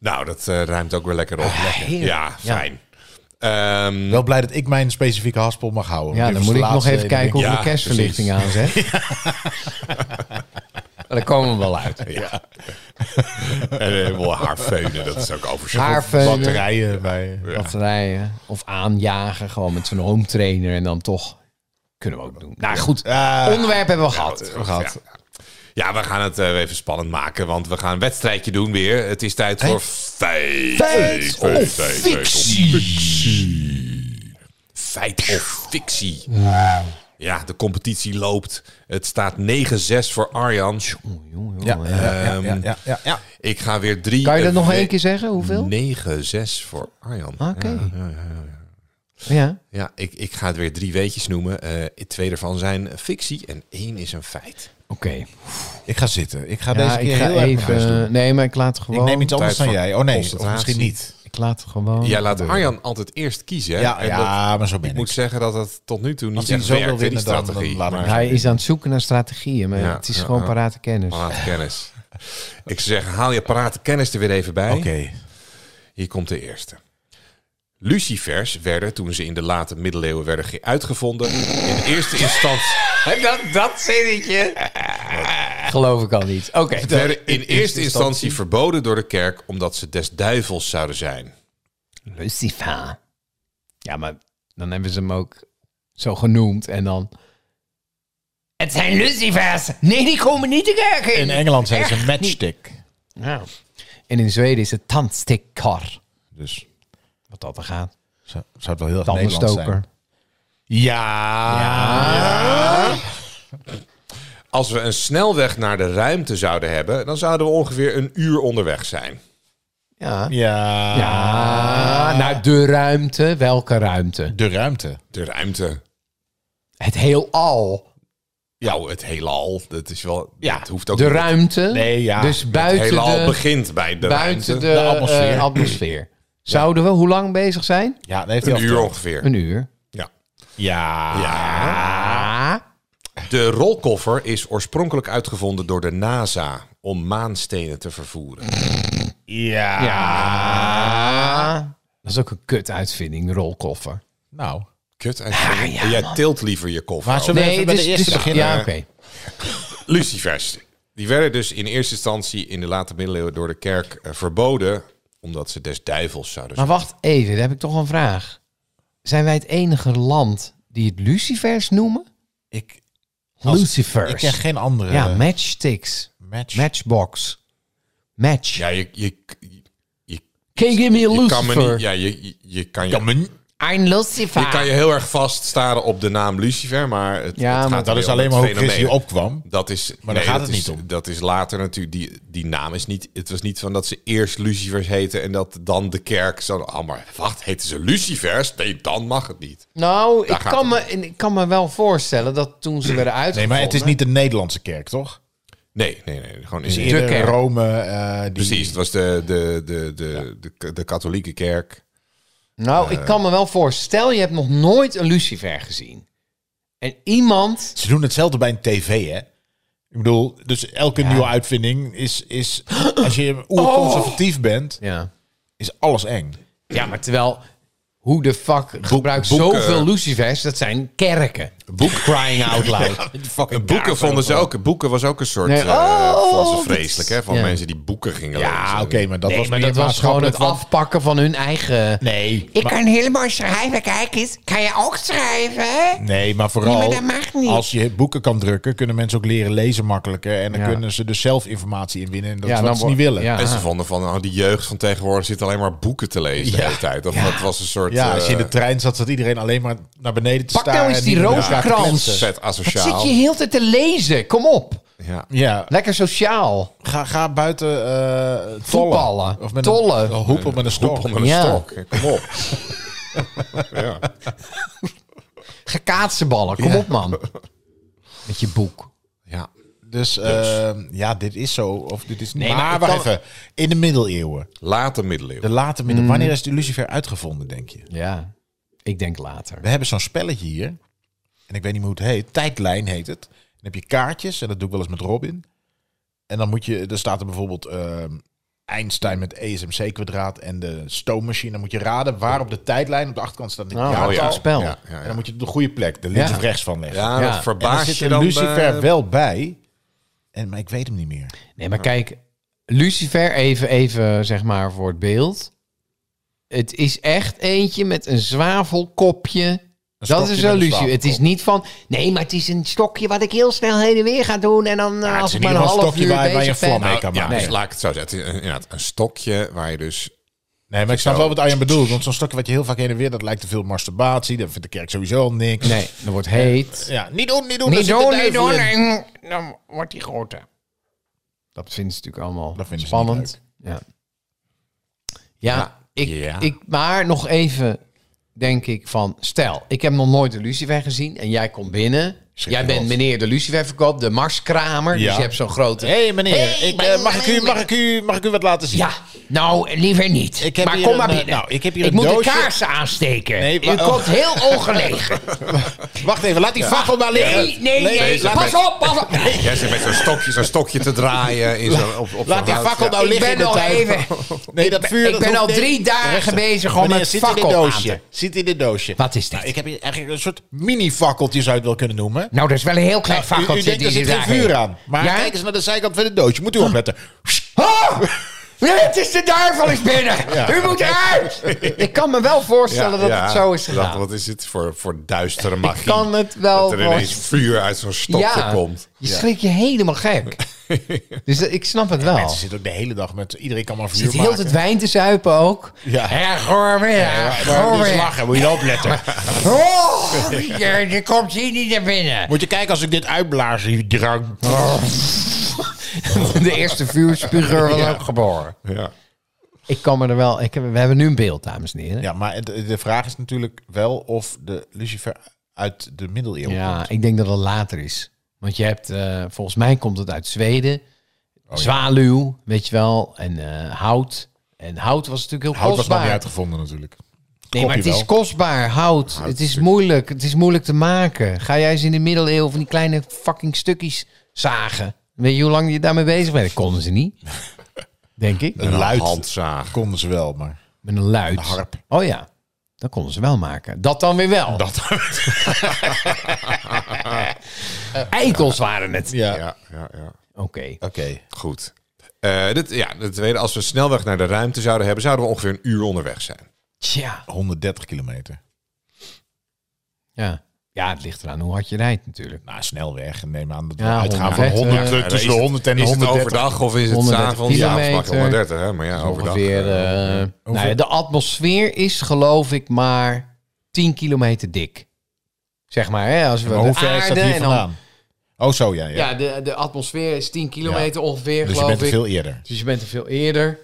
S2: Nou, dat eh, ruimt ook weer lekker op. Lekker.
S5: heerlijk.
S2: Ja, fijn. Ehm,
S3: Wel blij dat ik mijn specifieke haspel mag houden.
S5: Hm. ja,
S3: Dit
S5: dan
S3: was de
S5: moet ik nog
S3: laatste
S5: even kijken hoe
S3: ding.
S5: ik
S2: Ja,
S5: de kerstverlichting aan zet. Maar dan komen we wel uit.
S2: ja. en helemaal haar veunen, dat is ook overzichtelijk.
S5: Haarveunen,
S3: Batterijen bij. Ja.
S5: batterijen of aanjagen. Gewoon met zo'n home trainer en dan toch... Kunnen we ook doen. Nou goed,
S3: Ja.
S5: onderwerp hebben we gehad.
S3: gehad.
S2: Ja. Ja, we gaan het eh, even spannend maken, want we gaan een wedstrijdje doen weer. Het is tijd voor feit,
S5: Feit Eh,
S3: Oh,
S5: of
S2: fictie. Feit of fictie. Ja, de competitie loopt. Het staat 9-6 voor Arjan.
S3: Ja, ja, ja, ja, ja, ja.
S2: Ik ga weer drie...
S5: Kan je dat
S2: eh,
S5: nog
S2: we-
S5: één keer zeggen? Hoeveel? Ah,
S2: 9-6 voor Arjan.
S5: Oké.
S2: Ja.
S5: Ja.
S2: Ja, ik, ik ga het weer drie weetjes noemen. Eh, twee ervan zijn fictie en één is een feit.
S5: Oké.
S3: Ik ga zitten. Ik ga
S5: Ja,
S3: deze keer
S5: ik ga
S3: heel erg mijn best doen.
S5: even. Nee, maar ik laat
S3: Ik
S5: gewoon.
S3: neem iets anders
S2: Tijd
S3: dan
S2: voor
S3: jij. Oh nee, of
S2: concentratie.
S3: misschien niet.
S5: Ik laat gewoon.
S2: Jij laat Arjan altijd eerst kiezen. Hè?
S3: Ja,
S2: En
S3: ja maar zo
S2: dat- ik
S3: ben
S2: moet
S3: ik.
S2: zeggen dat het tot nu toe niet
S3: hij
S2: echt
S3: zo wil
S2: werkt, hè, die
S3: winnen, dan- dan
S2: strategie.
S3: laat hem
S2: maar
S5: Hij is aan het zoeken naar strategieën, maar
S2: Ja,
S5: het is
S2: ja,
S5: gewoon
S2: ja.
S5: parate kennis.
S2: maar laat kennis. Ik zou zeggen, haal je parate kennis er weer even bij.
S3: Oké.
S2: Hier komt de eerste. Lucifers werden, toen ze in de late middeleeuwen werden ge- uitgevonden, in eerste instantie...
S5: Dat, dat zinnetje. Geloof ik al niet. Oké.
S2: werden in eerste instantie verboden door de kerk omdat ze des duivels zouden zijn.
S5: Lucifer. Ja, maar dan hebben ze hem ook zo genoemd en dan. Het zijn Lucifers! Nee, die komen niet de kerk
S3: In Engeland zijn ze matchstick.
S5: Ja. En in Zweden is het tandstikkar.
S3: Dus
S5: Wat dat er gaat.
S3: zou zou het wel heel erg Nederlands
S5: Tandenstoker.
S3: zijn. Ja.
S2: Als we een snelweg naar de ruimte zouden hebben, dan zouden we ongeveer een uur onderweg zijn.
S5: Ja.
S3: Ja.
S5: Ja, naar de ruimte. Welke ruimte?
S3: De ruimte.
S2: De ruimte.
S5: Het heelal.
S2: Ja, het heelal. Dat is wel.
S3: Ja,
S2: het hoeft ook.
S5: De
S2: niet.
S5: ruimte.
S3: Nee, ja.
S5: Dus
S2: Het
S5: buiten
S2: heelal
S5: de,
S2: begint bij de
S5: buiten
S2: ruimte.
S5: de, eh, atmosfeer.
S3: atmosfeer.
S5: Zouden we hoe lang bezig zijn?
S3: Ja, dat heeft hij
S2: Een
S3: al
S2: uur
S3: verteld.
S2: ongeveer.
S5: Een uur.
S2: Ja.
S3: Ja.
S5: Ja.
S2: De rolkoffer is oorspronkelijk uitgevonden door de NASA om maanstenen te vervoeren.
S3: Ja.
S5: Ja. Dat is ook een kut uitvinding, de rolkoffer.
S3: Nou.
S2: Kut. eigenlijk.
S5: ja,
S2: En jij
S5: man.
S2: tilt liever je koffer.
S3: Maar zo-
S2: over.
S3: Zullen we even bij de eerste beginnen?
S5: Ja, oké.
S2: Lucifers. Die werden dus in eerste instantie in de late middeleeuwen door de kerk eh, verboden omdat ze des duivels zouden
S5: Maar
S2: zijn.
S5: wacht even, daar heb ik toch een vraag. Zijn wij het enige land die het lucifers noemen?
S3: Ik, Als-
S5: Lucifers.
S3: ik ken geen andere
S5: ja,
S2: eh,
S5: matchsticks.
S3: match.
S5: Matchbox. Match.
S2: Ja, je, je, je,
S5: Can you give me a
S2: je kan me
S5: lucifer?
S2: niet. Ja, je, je, je kan je,
S3: Jammer.
S5: Ein lucifer.
S2: je kan je heel erg vaststaren op de naam Lucifer, maar het,
S5: Ja,
S2: het gaat
S5: maar
S2: er
S3: Dat is
S2: weer om
S3: alleen
S2: het
S3: maar hoe
S2: fenomeen.
S3: Chris hier opkwam.
S2: Dat is,
S3: Maar daar gaat
S2: dat
S3: het
S2: is-
S3: niet om.
S2: Dat is later natuurlijk. Die, die naam is niet. Het was niet van dat ze eerst Lucifers heten en dat dan de kerk zo. Ah, maar wacht, heten ze Lucifers? Nee, dan mag het niet.
S5: Nou, ik
S2: gaat
S5: kan, me, ik kan me wel voorstellen dat toen ze werden
S3: Nee,
S5: uitgevonden...
S3: maar het is niet de Nederlandse kerk, toch?
S2: Nee, nee, nee. Gewoon in
S3: Dus
S2: de-
S3: eerder
S5: kerk.
S3: Rome. eh, die,
S2: Precies, het was de, de, de, de, de, de katholieke kerk.
S5: Nou,
S2: Eh.
S5: ik kan me wel voorstellen, je hebt nog nooit een lucifer gezien. En iemand...
S3: Ze doen hetzelfde bij een tv, hè? Ik bedoel, dus elke nieuwe uitvinding is, is als je oerconservatief
S5: Oh!
S3: bent,
S5: Ja,
S3: is alles eng.
S5: ja maar terwijl... Hoe de fuck gebruikt
S2: boeken.
S5: zoveel lucifers? Dat zijn kerken.
S2: Boek crying out loud. boeken vonden ze ook. Boeken was ook een soort.
S5: Nee,
S2: eh
S5: oh,
S2: vonden ze
S5: dat
S2: vreselijk, hè? Van
S5: ja.
S2: mensen die boeken gingen lezen.
S3: Ja, Ah, oké, maar dat
S5: Nee,
S3: was
S5: maar
S3: meer
S5: dat was gewoon het
S3: maatschappelijk van-
S5: afpakken van hun eigen...
S3: Nee, maar,
S1: kan helemaal schrijven, kijk eens. Kan je ook schrijven?
S3: nee, maar vooral
S1: Nee, maar dat mag niet.
S3: als je boeken kan drukken, kunnen mensen ook leren lezen makkelijker. En dan
S5: Ja.
S3: kunnen ze dus zelf informatie inwinnen. En dat is
S5: dan
S3: wat ze
S5: wordt-
S3: niet willen.
S5: ja.
S3: Ja,
S2: En ze vonden van, oh, die jeugd van tegenwoordig zit alleen maar boeken te lezen de
S3: Ja.
S2: hele tijd. Of dat was een soort
S3: als je in de
S2: eh,
S3: trein zat, zat iedereen alleen maar naar beneden te
S5: Pak
S3: staren.
S5: nou eens
S3: en
S5: die
S3: niet met elkaar te
S5: rozenkrans.
S3: kletsen.
S2: vet
S5: Zit
S2: asociaal.
S5: je heel de tijd te lezen? Kom op.
S2: Ja.
S3: Ja,
S5: Lekker sociaal.
S3: ga, ga buiten eh tollen.
S5: Voetballen.
S3: Of met
S5: Tollen.
S3: Een, een hoepel met een stok.
S2: Poppen met een
S5: Ja.
S2: stok. Kom op. ja.
S5: Gekaatsenballen. Kom op, man. Met je boek.
S2: ja.
S3: Dus, eh, ja, dit is zo. Of dit is niet.
S5: Nee,
S3: maar
S5: maar ik
S3: wacht
S5: kan-
S3: even. In de middeleeuwen.
S2: Late middeleeuwen.
S3: De late middeleeuwen. Wanneer is de Lucifer uitgevonden, denk je?
S5: Ja. Ik denk later.
S3: We hebben zo'n spelletje hier. En ik weet niet hoe het heet. Tijdlijn heet het. Dan heb je kaartjes. En dat doe ik wel eens met Robin. En dan moet je... Dan staat er bijvoorbeeld... ehm, Einstein met E ESMC-kwadraat en de stoommachine. Dan moet je raden waar op de tijdlijn... op de achterkant staat een
S5: Oh,
S3: jaartal.
S5: oh ja. spel.
S2: Ja, ja,
S3: En
S2: ja.
S3: dan moet je het op de goede plek, de links
S5: Ja.
S3: of rechts van leggen.
S2: Ja,
S5: Ja.
S2: dat
S3: En dan
S2: verbaas
S3: zit
S2: je
S3: er
S2: dan.
S3: Lucifer
S2: eh,
S3: wel bij. En, maar ik weet hem niet meer.
S5: Nee, maar kijk. Lucifer, even, even zeg maar voor het beeld. Het is echt eentje met een zwavelkopje. Dat
S3: stokje
S5: is
S3: met
S5: een
S3: een
S5: Lucifer. Het is
S3: zwavelkop.
S5: niet van. Nee, maar het is een stokje wat ik heel snel heen en weer ga doen. En dan eh,
S3: het
S5: als
S3: is
S5: ik
S3: in
S5: maar een
S3: ieder geval een
S5: half
S3: stokje
S5: uur
S3: waar- waar je
S5: bezig
S3: een vlam
S5: ben.
S3: mee
S2: Nou,
S3: kan
S2: ja,
S3: maken.
S2: dus laat ik het zo zeggen. Het is een- inderdaad een stokje waar je dus...
S3: Nee, maar ik snap
S2: Zo.
S3: wel wat Arjan bedoelt. Want zo'n stokje wat je heel vaak heen en weer, dat lijkt te veel masturbatie. Dat vindt de kerk sowieso al niks.
S5: Nee, dat wordt heet.
S3: Ja, niet doen, niet doen. daar
S5: Niet
S3: zit de
S5: doen,
S3: duivel
S5: niet doen.
S3: in.
S5: en Dan wordt die groter. Dat vinden ze natuurlijk allemaal
S3: Dat vinden ze
S5: spannend. ja. Ja, ik,
S2: Ja.
S5: ik, maar nog even denk ik van... Stel, ik heb nog nooit de lucifer gezien en jij komt binnen. Jij bent meneer de lucifer verkoopt, de marskramer.
S3: Ja.
S5: Dus je hebt zo'n grote...
S3: Hé hey, meneer,
S5: Hey,
S3: ik, eh, mag, ik u,
S5: meneer.
S3: mag, ik u, mag ik u wat laten zien?
S5: Ja, nou, liever niet.
S3: Ik heb
S5: maar
S3: hier
S5: kom
S3: een,
S5: maar
S3: eh,
S5: binnen.
S3: nou, ik heb hier
S5: ik
S3: een
S5: moet de
S3: doosje.
S5: kaars aansteken.
S3: Nee,
S5: U
S3: wa- oh.
S5: komt heel ongelegen.
S3: Wacht even, laat die vachel maar liggen.
S5: Nee, nee, nee.
S2: nee, zeg
S5: Pas
S2: maar.
S5: op, pas op.
S2: Jij zit met zo'n stokje, zo'n stokje te draaien. In zo'n, op, op
S3: Laat die fakkel nou
S5: Ik
S3: liggen
S5: ben
S3: in de
S5: nog
S3: tuin.
S5: even...
S3: Nee, dat vuur,
S5: ik
S3: dat
S5: ben
S3: hoeft
S5: al
S3: niet.
S5: drie dagen
S3: Rustig.
S5: bezig om
S3: Meneer,
S5: het
S3: zit in dit
S5: fakkel aan
S3: doosje.
S5: te-
S3: Zit in dit doosje.
S5: Wat is dit?
S3: Nou, ik heb hier eigenlijk een soort mini-fakkeltje, zou je het wel kunnen noemen.
S5: Nou, dat is wel een heel klein
S3: u, u
S5: fakkeltje
S3: denkt, er
S5: die
S3: zit
S5: ze
S3: geen
S5: daar
S3: vuur
S5: hebben.
S3: aan. Maar
S5: Ja? Oh.
S3: kijk eens naar de zijkant van het doosje. Moet u opletten.
S5: Ah! Nee, het is de duivel is binnen. U moet eruit. Ik kan me wel voorstellen dat het zo is
S2: gedacht.
S5: gegaan.
S2: Wat is dit voor, voor duistere magie?
S5: kan het wel
S2: Dat er ineens
S5: vast-
S2: vuur uit zo'n stokje komt.
S5: je schrik je helemaal gek. Dus dat- ik snap het wel.
S3: Mensen zitten ook de hele dag met... Iedereen kan maar vuur
S5: Zit heel
S3: maken.
S5: het wijn te zuipen ook.
S3: Ja.
S5: Ja, goor weer. Ja,
S3: Maar
S5: goor
S3: moet je
S5: weer.
S3: lachen, moet je opletten.
S5: Oh, je, je komt hier niet naar binnen.
S3: Moet je kijken als ik dit uitblaas, die drank.
S5: De eerste vuurspuger was ook geboren.
S2: Ja.
S5: Ik kan me er wel... Ik heb, we hebben nu een beeld, dames en heren.
S3: Ja, maar het- de vraag is natuurlijk wel of de Lucifer uit de middeleeuwen
S5: Ja,
S3: komt.
S5: ik denk dat het later is. Want je hebt, eh, volgens mij komt het uit Zweden.
S3: Oh,
S5: Zwaluw, weet je wel, en eh, hout. En hout was natuurlijk heel
S3: Hout was nog
S5: kostbaar.
S3: niet uitgevonden natuurlijk.
S5: Nee, maar het is
S3: wel.
S5: kostbaar, hout. het is moeilijk. Het is moeilijk te maken. Ga jij eens in de middeleeuwen van die kleine fucking stukjes zagen. Weet je hoe lang je daarmee bezig bent? Dat konden ze niet. Denk ik.
S3: Een luid
S2: handzaag.
S3: konden ze wel, maar...
S5: Met een luid.
S3: harp.
S5: Oh ja. Dat konden ze wel maken. Dat dan weer wel.
S3: Dat,
S5: Eh, Eikels waren het.
S3: ja, oké.
S2: Ja, ja, ja.
S5: Oké.
S2: Goed. Eh, dit, ja, de tweede, als we snelweg naar de ruimte zouden hebben, zouden we ongeveer een uur onderweg zijn.
S5: Tja.
S3: 130 kilometer.
S5: Ja. ja, het ligt eraan hoe hard je rijdt natuurlijk.
S3: Nou, snelweg. En Neem aan dat we
S5: Ja,
S3: uitgaan van
S5: 100,
S3: 100,
S5: eh,
S3: eh, tussen de 100 en
S2: Nou, Is het
S3: 130.
S2: overdag of is het
S5: 130
S2: s'avonds? Ja, het mag
S5: kilometer.
S2: 130, hè? Maar ja,
S5: Dus
S2: overdag.
S5: ongeveer,
S2: eh,
S5: eh, nou ja, de atmosfeer is geloof ik maar 10 kilometer dik. Zeg maar, hè, als we
S3: Maar
S5: de
S3: hoe ver is dat
S5: aarde
S3: hier
S5: en dan-
S3: vandaan? Oh, zo, ja. ja.
S5: Ja, de, de atmosfeer is 10 kilometer ongeveer,
S3: dus je
S5: geloof
S3: bent er
S5: ik.
S3: veel eerder.
S5: Dus je bent er veel eerder.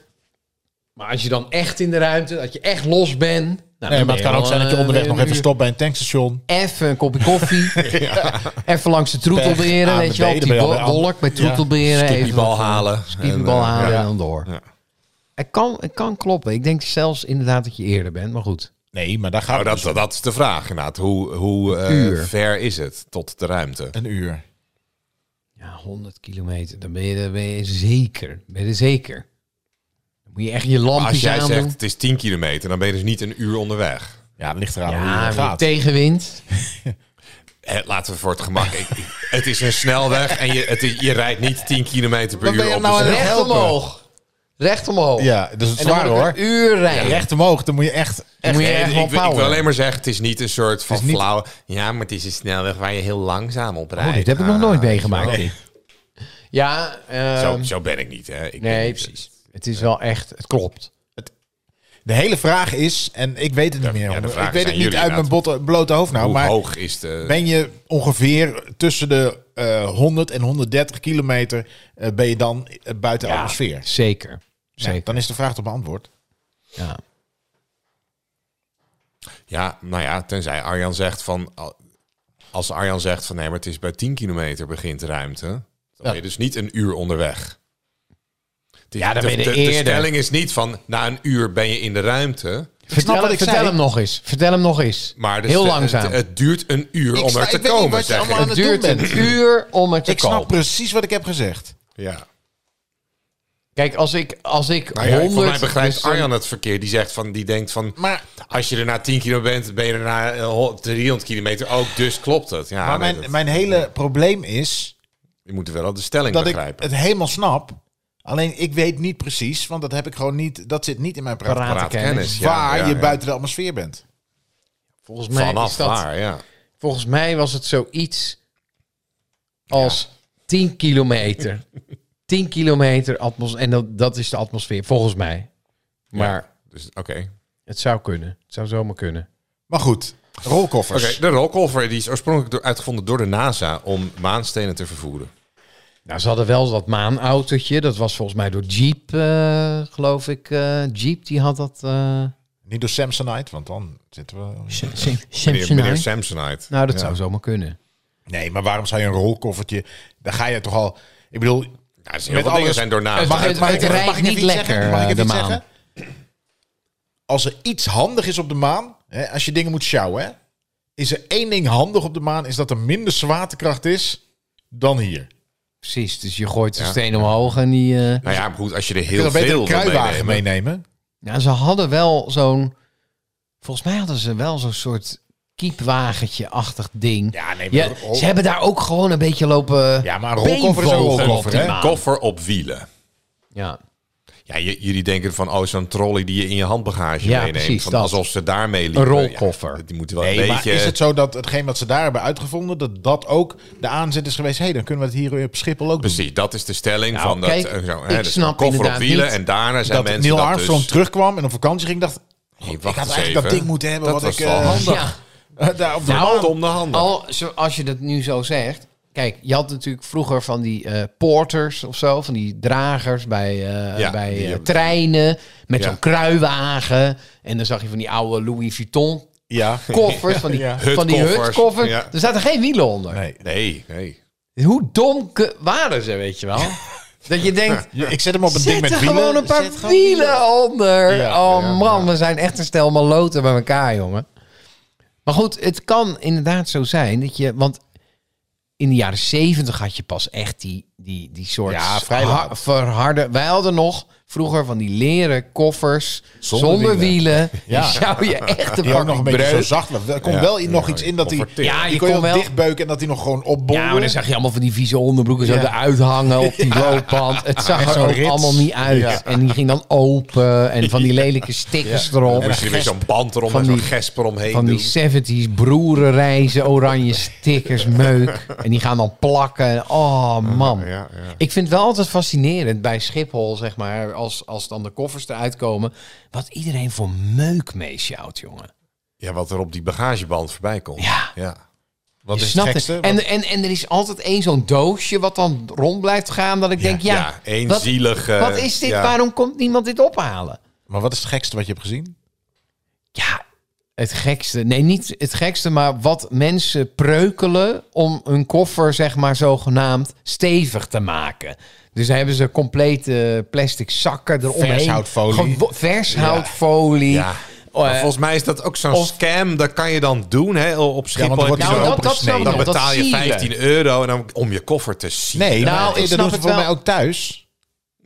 S5: Maar als je dan echt in de ruimte, dat je echt los bent... nou, dan
S3: Nee,
S5: ben
S3: maar het kan
S5: al,
S3: ook zijn dat je
S5: eh,
S3: onderweg
S5: een
S3: nog
S5: uur-
S3: even stopt bij een tankstation.
S5: Even een kopje koffie. Even langs de troetelberen,
S3: Pech,
S5: weet je wel. Op
S3: aan de
S5: die
S3: benen,
S5: wo-
S3: bij alle-
S5: wolk bij
S3: Ja,
S5: troetelberen. even
S2: die bal
S5: wat, eh,
S2: halen.
S5: die bal
S2: eh,
S5: halen
S2: ja.
S5: en dan door.
S2: Ja.
S5: Het kan, het kan kloppen. Ik denk zelfs inderdaad dat je eerder bent, maar goed.
S3: Nee, maar daar gaat
S2: Nou,
S3: het
S2: dat,
S3: dus
S2: dat, dat is de vraag inderdaad. Hoe, hoe eh,
S5: Uur.
S2: ver is het tot de ruimte?
S3: om. een uur.
S5: Ja, 100 kilometer. Dan ben je, dan ben je zeker. Ben je er zeker. Dan moet je echt je
S2: Maar als
S5: lampjes
S2: jij
S5: aandoen.
S2: zegt het is 10 kilometer, dan ben je dus niet een uur onderweg.
S3: Ja, het ligt eraan hoe
S5: ja,
S3: het
S5: met
S3: gaat.
S5: tegenwind.
S2: Eh, laten we voor het gemak. ik- ik- het is een snelweg en je, het, is- je rijdt niet 10 kilometer per
S5: Dan ben
S2: uur
S5: je
S2: op.
S5: nou
S2: de-
S3: een
S5: recht
S3: helpen.
S5: omhoog. Recht omhoog.
S3: Ja, dat is het
S5: en dan
S3: zwaar
S5: moet ik
S3: hoor.
S5: een uur rijden.
S3: Recht omhoog, dan moet je echt... echt
S5: moet je
S2: Nee,
S5: echt
S2: ik-
S5: wel
S2: ik, wil- ik wil
S5: power.
S2: alleen maar zeggen, het is niet een soort van
S3: is niet-
S2: flauw. Ja, maar het is een snelweg waar je heel langzaam op rijdt.
S5: Oh, dit heb ik nog
S2: Ah,
S5: nooit meegemaakt. dit. Ja,
S2: Zo,
S5: ehm,
S2: zo ben ik niet, hè? Ik ben
S5: nee,
S2: niet-
S5: precies. Het is wel echt, het klopt.
S3: De hele vraag is, en ik weet het niet meer.
S2: ja, de
S3: hoor.
S2: vraag
S3: ik weet
S2: is
S3: het
S2: aan
S3: niet
S2: jullie
S3: uit mijn botte- blote hoofd nou,
S2: Hoe
S3: maar
S2: hoog is de...
S3: ben je ongeveer tussen de eh 100 en 130 kilometer eh, ben je dan eh, buiten de atmosfeer?
S5: Zeker.
S3: Ja,
S5: Zeker.
S3: dan is de vraag toch beantwoord.
S5: Ja.
S2: Ja, nou ja, tenzij Arjan zegt van... al- Als Arjan zegt van nee, maar het is bij 10 kilometer begint de ruimte. Dan ben je dus niet een uur onderweg. Het is-
S5: Ja, dan
S2: de,
S5: ben je
S2: de- de
S5: eerder.
S2: stelling is niet van na een uur ben je in de ruimte.
S5: Vertel,
S3: wat ik
S5: vertel
S3: zei.
S5: hem nog eens. Vertel hem nog eens.
S2: Maar de
S5: Heel
S2: stel-
S5: langzaam.
S2: Het,
S5: Het,
S2: het duurt een uur om
S3: sta-
S2: er
S3: ik
S2: te
S3: weet niet wat
S2: komen,
S3: je
S2: zeg
S3: allemaal
S2: ik.
S3: aan het
S5: duurt
S3: doen
S5: een
S3: bent.
S5: uur om er te
S3: Ik snap
S5: komen.
S3: precies wat ik heb gezegd.
S2: Ja.
S5: Kijk, als ik, als ik
S2: Nou ja,
S5: 100...
S2: voor mij begrijpt
S5: dus dan-
S2: Arjan het verkeer. Die zegt van, die denkt van,
S3: Maar,
S2: als je er na 10 kilo bent, ben je er na eh, ho- 300 kilometer ook. Dus klopt het. Ja,
S3: maar
S2: nee,
S3: mijn,
S2: dat-
S3: mijn hele probleem is
S2: je moet wel de stelling
S3: dat ik
S2: begrijpen.
S3: het helemaal snap. Alleen ik weet niet precies, want dat heb ik gewoon niet. Dat zit niet in mijn praat.
S5: Paraat-
S2: Praatkennis,
S5: kennis,
S2: ja,
S3: waar
S2: ja,
S3: je
S2: ja.
S3: buiten de atmosfeer bent.
S5: Volgens mij,
S2: vanaf
S5: is dat,
S2: waar, ja.
S5: volgens mij was het zoiets als 10 kilometer. 10 kilometer atmos En dat, dat is de atmosfeer, volgens mij. Maar
S2: Dus oké.
S5: het zou kunnen. Het zou zomaar kunnen.
S3: Maar goed, rolkoffers.
S2: Oké, de rolkoffer die is oorspronkelijk door, uitgevonden door de NASA om maanstenen te vervoeren.
S5: Nou, ze hadden wel dat maanautootje. Dat was volgens mij door Jeep, eh, geloof ik. eh, Jeep, die had dat... eh,
S3: Niet door Samsonite, want dan zitten we...
S2: Meneer, meneer Samsonite.
S5: Nou, dat zou zomaar kunnen.
S3: Nee, maar waarom zou je een rolkoffertje... Daar ga je toch al... Ik bedoel...
S2: Ja, er zijn heel
S3: Met
S2: veel dingen
S3: alles-
S2: zijn door NASA.
S5: Het
S3: Mag ik,
S5: het
S3: mag ik, mag
S5: rijdt
S3: ik even
S5: niet
S3: iets
S5: lekker,
S3: zeggen? Mag ik
S5: eh,
S3: even iets
S5: de maan.
S3: zeggen? Als er iets handig is op de maan... Hè, als je dingen moet sjouwen... Hè, is er één ding handig op de maan... is dat er minder zwaartekracht is dan hier.
S5: Precies, dus je gooit de steen omhoog en die... eh,
S2: nou ja, maar goed, als je er
S3: Je
S2: heel
S3: kan beter
S2: veel
S3: een
S2: wil meenemen.
S3: kruiwagen meenemen.
S5: Nou, ze hadden wel zo'n... Volgens mij hadden ze wel zo'n soort kiepwagentje-achtig ding.
S3: Ja, nee,
S5: Ja,
S3: maar, een rol-
S5: ze hebben daar ook gewoon een beetje lopen...
S3: ja, maar een rolkoffer is een
S5: Beenvogel op
S3: rolkoffer,
S5: die
S3: hè?
S5: maan.
S2: Koffer op wielen.
S5: Ja.
S2: Ja, j- jullie denken van, oh, zo'n trolley die je in je handbagage
S5: Ja,
S2: meeneemt.
S5: precies,
S2: van,
S5: dat.
S2: alsof ze daarmee liepen.
S5: Een rolkoffer.
S2: Ja, die moeten wel
S3: Nee,
S2: een
S3: maar
S2: beetje...
S3: is het zo dat hetgeen wat ze daar hebben uitgevonden... dat dat ook de aanzet is geweest... hé, hey, dan kunnen we het hier op Schiphol ook doen.
S2: Precies, dat is de stelling
S5: Nou,
S2: van dat...
S5: kijk,
S2: eh, zo,
S5: ik
S2: hè, dus
S5: snap
S2: een koffer op
S5: inderdaad
S2: wielen
S5: niet
S2: en daarna zijn
S3: dat
S2: mensen
S3: Neil
S2: dat
S3: Armstrong
S2: dus...
S3: terugkwam en op vakantie ging, dacht
S2: Hey,
S3: ik had
S2: wacht eens
S3: eigenlijk dat
S2: even.
S3: ding moeten hebben
S2: Dat
S3: wat
S2: was
S3: ik
S2: wel
S3: eh,
S2: handig.
S5: Ja.
S3: daar op de
S5: Nou,
S3: maan-
S2: om de handen.
S5: Al, zo- als je dat nu zo zegt. Kijk, je had natuurlijk vroeger van die eh, porters of zo, van die dragers bij, eh,
S2: Ja,
S5: bij
S2: die
S5: eh,
S2: hebben-
S5: treinen met
S2: Ja.
S5: zo'n kruiwagen. En dan zag je van die oude Louis Vuitton
S3: Ja.
S5: koffers, van die,
S3: Ja.
S5: van die
S2: Hutkoffers.
S5: hutkoffers.
S2: Ja.
S5: Er zaten geen wielen onder.
S3: Nee.
S2: Nee, nee.
S5: Hoe dom ke- waren ze, weet je wel? Dat je denkt,
S3: Ja, Ik zet hem op een ding
S5: zet
S3: met
S5: er
S3: wielen.
S5: gewoon een paar
S3: Zet
S5: wielen,
S3: gewoon
S5: onder.
S3: Ja,
S5: oh
S3: ja,
S5: man, we zijn echt een stel maloten bij elkaar, jongen. Maar goed, het kan inderdaad zo zijn dat je... Want in de jaren zeventig had je pas echt die, die, die soort...
S3: Ja, vrij
S5: ha-
S3: laat.
S5: verharde... Wij hadden nog vroeger van die leren koffers zonder,
S3: Zonder
S5: wielen.
S3: Ja.
S5: Ja. zou je echt een
S3: Die ook nog
S5: pakje
S3: een beetje zo
S5: breuk...
S3: zacht. was. Er komt
S2: Ja.
S3: wel in, nog
S2: Ja,
S3: iets in dat hij...
S2: comfortabel.
S5: Ja,
S3: die
S5: je
S3: kon je
S5: kon
S3: wel
S5: wel-
S3: dichtbeuken en dat hij nog gewoon opbolde.
S5: Ja, maar dan zag je allemaal van die vieze onderbroeken zo
S3: Ja.
S5: eruit hangen op die loopband. Het zag
S3: Met
S5: er
S3: zo'n
S5: ook
S3: rits.
S5: allemaal niet uit.
S3: Ja.
S5: En die ging dan open en van die lelijke stickers erop.
S2: Dan moest je er weer zo'n band erom
S5: van
S2: en zo'n
S5: die-
S2: gesper omheen
S5: Van
S2: doen.
S5: die 70s broerenreizen, oranje stickers, meuk. En die gaan dan plakken. Oh man.
S2: ja, ja.
S5: Ik vind het wel altijd fascinerend bij Schiphol, zeg maar, als, als dan de koffers eruit komen. Wat iedereen voor meuk meesjouwt, jongen.
S2: Ja, wat er op die bagageband voorbij komt.
S5: Ja.
S2: ja.
S3: Wat
S5: Je
S3: is het
S5: snapt
S3: gekste?
S5: het. En, en, en er is altijd één zo'n doosje wat dan rond blijft gaan. Dat ik denk, ja,
S2: ja, één
S5: wat,
S2: zielige,
S5: Wat is dit?
S2: ja.
S5: Waarom komt niemand dit ophalen?
S3: Maar wat is het gekste wat je hebt gezien?
S5: Ja, het gekste. Nee, niet het gekste, maar wat mensen preukelen om hun koffer, zeg maar, zogenaamd stevig te maken. Dus dan hebben ze complete plastic zakken eromheen.
S3: Vershoutfolie.
S5: Gewo- Vershoutfolie.
S2: Ja.
S5: Oh,
S2: Maar
S5: eh,
S2: volgens mij is dat ook zo'n
S5: of-
S2: scam. Dat kan je dan doen hè, op Schiphol.
S3: dan
S2: heb
S3: wordt
S2: je
S3: die
S2: zo'n
S3: zo
S5: nou, dat,
S2: open-
S5: dat snap
S3: opengesneden.
S5: ik
S2: dan
S5: nog.
S2: betaal je
S5: Dat zielen.
S2: 15 euro en dan, om je koffer te zien.
S3: Nee,
S5: Nou,
S3: nou,
S5: ik
S3: dat
S5: snap
S3: doen ze
S5: het
S3: voor mij
S5: wel.
S3: ook thuis.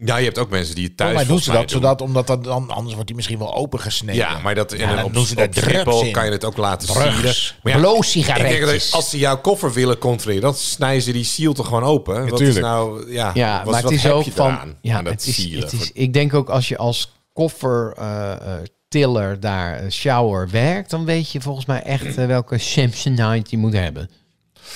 S2: Ja, je hebt ook mensen die
S5: Oh,
S2: het thuis
S3: Volgens mij doen ze dat,
S2: volgens mij
S3: zodat, omdat dat dan, anders wordt hij misschien wel opengesneden.
S2: Ja, maar dat, en
S3: Ja,
S2: dan
S3: dan
S2: op,
S3: doen ze daar
S2: op Schiphol
S3: drugs in.
S2: kan je het ook laten
S3: Drugs.
S2: zien. Maar ja,
S5: Blow
S2: ik denk dat
S5: sigaretjes.
S2: als ze jouw koffer willen controleren, dan snijden ze die ziel toch gewoon open. Wat is
S3: tuurlijk.
S2: nou, ja,
S5: Ja,
S2: wat, wat
S5: maar het is
S2: heb
S5: ook
S2: je
S5: van.
S2: eraan
S5: Ja,
S2: aan dat
S5: het is,
S2: zielen?
S5: het is, ik denk ook als je als koffertiller daar, eh, shower werkt, dan weet je volgens mij echt eh, welke Samsonite je moet hebben.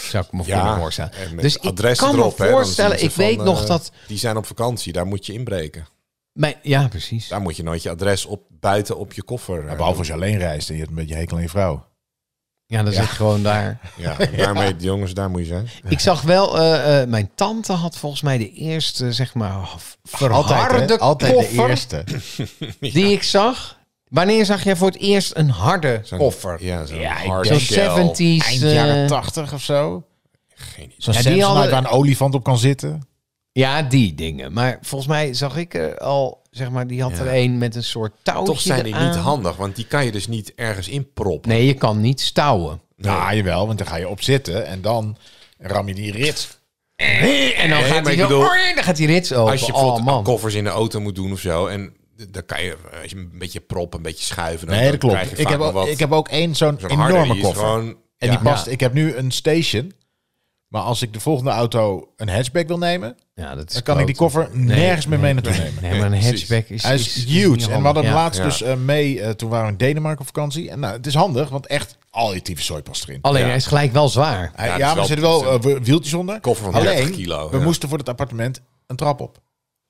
S5: Zou ik me voor
S2: Ja,
S5: me voorstellen.
S2: en met
S5: Dus ik
S2: adressen
S5: kan
S2: erop, hè,
S5: me
S2: dan
S5: voorstellen,
S2: zien
S5: ik
S2: ze van,
S5: weet nog
S2: eh,
S5: dat.
S2: Die zijn op vakantie, daar moet je inbreken.
S5: Mijn, ja, precies.
S2: Daar moet je nooit je adres op, buiten op je koffer. eh,
S3: Ja, behalve als je alleen reist en je hebt een beetje hekel aan je vrouw.
S5: Ja, dan zit gewoon daar.
S2: Ja, daarmee, jongens, daar moet je zijn.
S5: Ik zag wel, eh, eh, mijn tante had volgens mij de eerste, zeg maar, oh, verharde
S3: Altijd, hè? Altijd
S5: koffer
S3: de eerste.
S5: die ik zag. Wanneer zag jij voor het eerst een harde
S2: Zo'n-
S5: koffer?
S2: Ja, zo'n
S3: Ja, ik
S2: hard
S5: Zo'n
S2: shell.
S5: 70s.
S3: Eind
S5: eh,
S3: jaren tachtig of zo.
S2: Geen idee.
S3: Zo'n
S5: Ja, die
S3: Samsonite
S5: hadden-
S3: waar een olifant op kan zitten.
S5: Ja, die dingen. Maar volgens mij zag ik er al, zeg maar, die had er een met een soort touwtje
S2: Toch zijn die
S5: eraan.
S2: niet handig, want die kan je dus niet ergens inproppen.
S5: Nee, je kan niet stouwen.
S3: Nou, jawel, want dan ga je op zitten en dan ram je die rits.
S5: En dan
S2: Nee,
S5: gaat
S2: Eh, maar
S5: hij
S2: ik
S5: zo,
S2: bedoel,
S5: oei, dan gaat die rits open.
S2: Als je
S5: oh,
S2: bijvoorbeeld
S5: man.
S2: koffers in de auto moet doen of zo. En d- dan kan je, eh, als je een beetje prop, een beetje schuiven. Dan,
S3: Nee, dat
S2: dan krijg
S3: klopt.
S2: je
S3: Ik
S2: vaak
S3: heb,
S2: nog
S3: ook,
S2: wat.
S3: ik heb ook één zo'n
S2: Zo'n harde,
S3: enorme
S2: die is
S3: koffer.
S2: gewoon-
S3: en
S2: ja.
S3: die past. Ik heb nu een station. Maar als ik de volgende auto een hatchback wil nemen,
S5: Ja, dat is
S3: dan kan ik die
S5: kloten.
S3: koffer nergens meer mee naartoe nemen.
S5: Nee, maar een
S2: Precies.
S5: hatchback is,
S3: Hij is, huge. En we hadden hem laatst
S2: Ja.
S3: dus eh, mee, eh, toen waren we in Denemarken op vakantie. En nou, het is handig, want echt al je type zooi past erin.
S5: Alleen,
S2: Ja.
S5: hij is gelijk wel zwaar.
S3: Hij- ja,
S2: dat is
S3: maar er
S2: wel-
S3: zitten wel eh, wieltjes onder.
S2: Koffer van 30
S3: Alleen,
S2: kilo,
S3: we
S2: ja.
S3: moesten voor het appartement een trap op.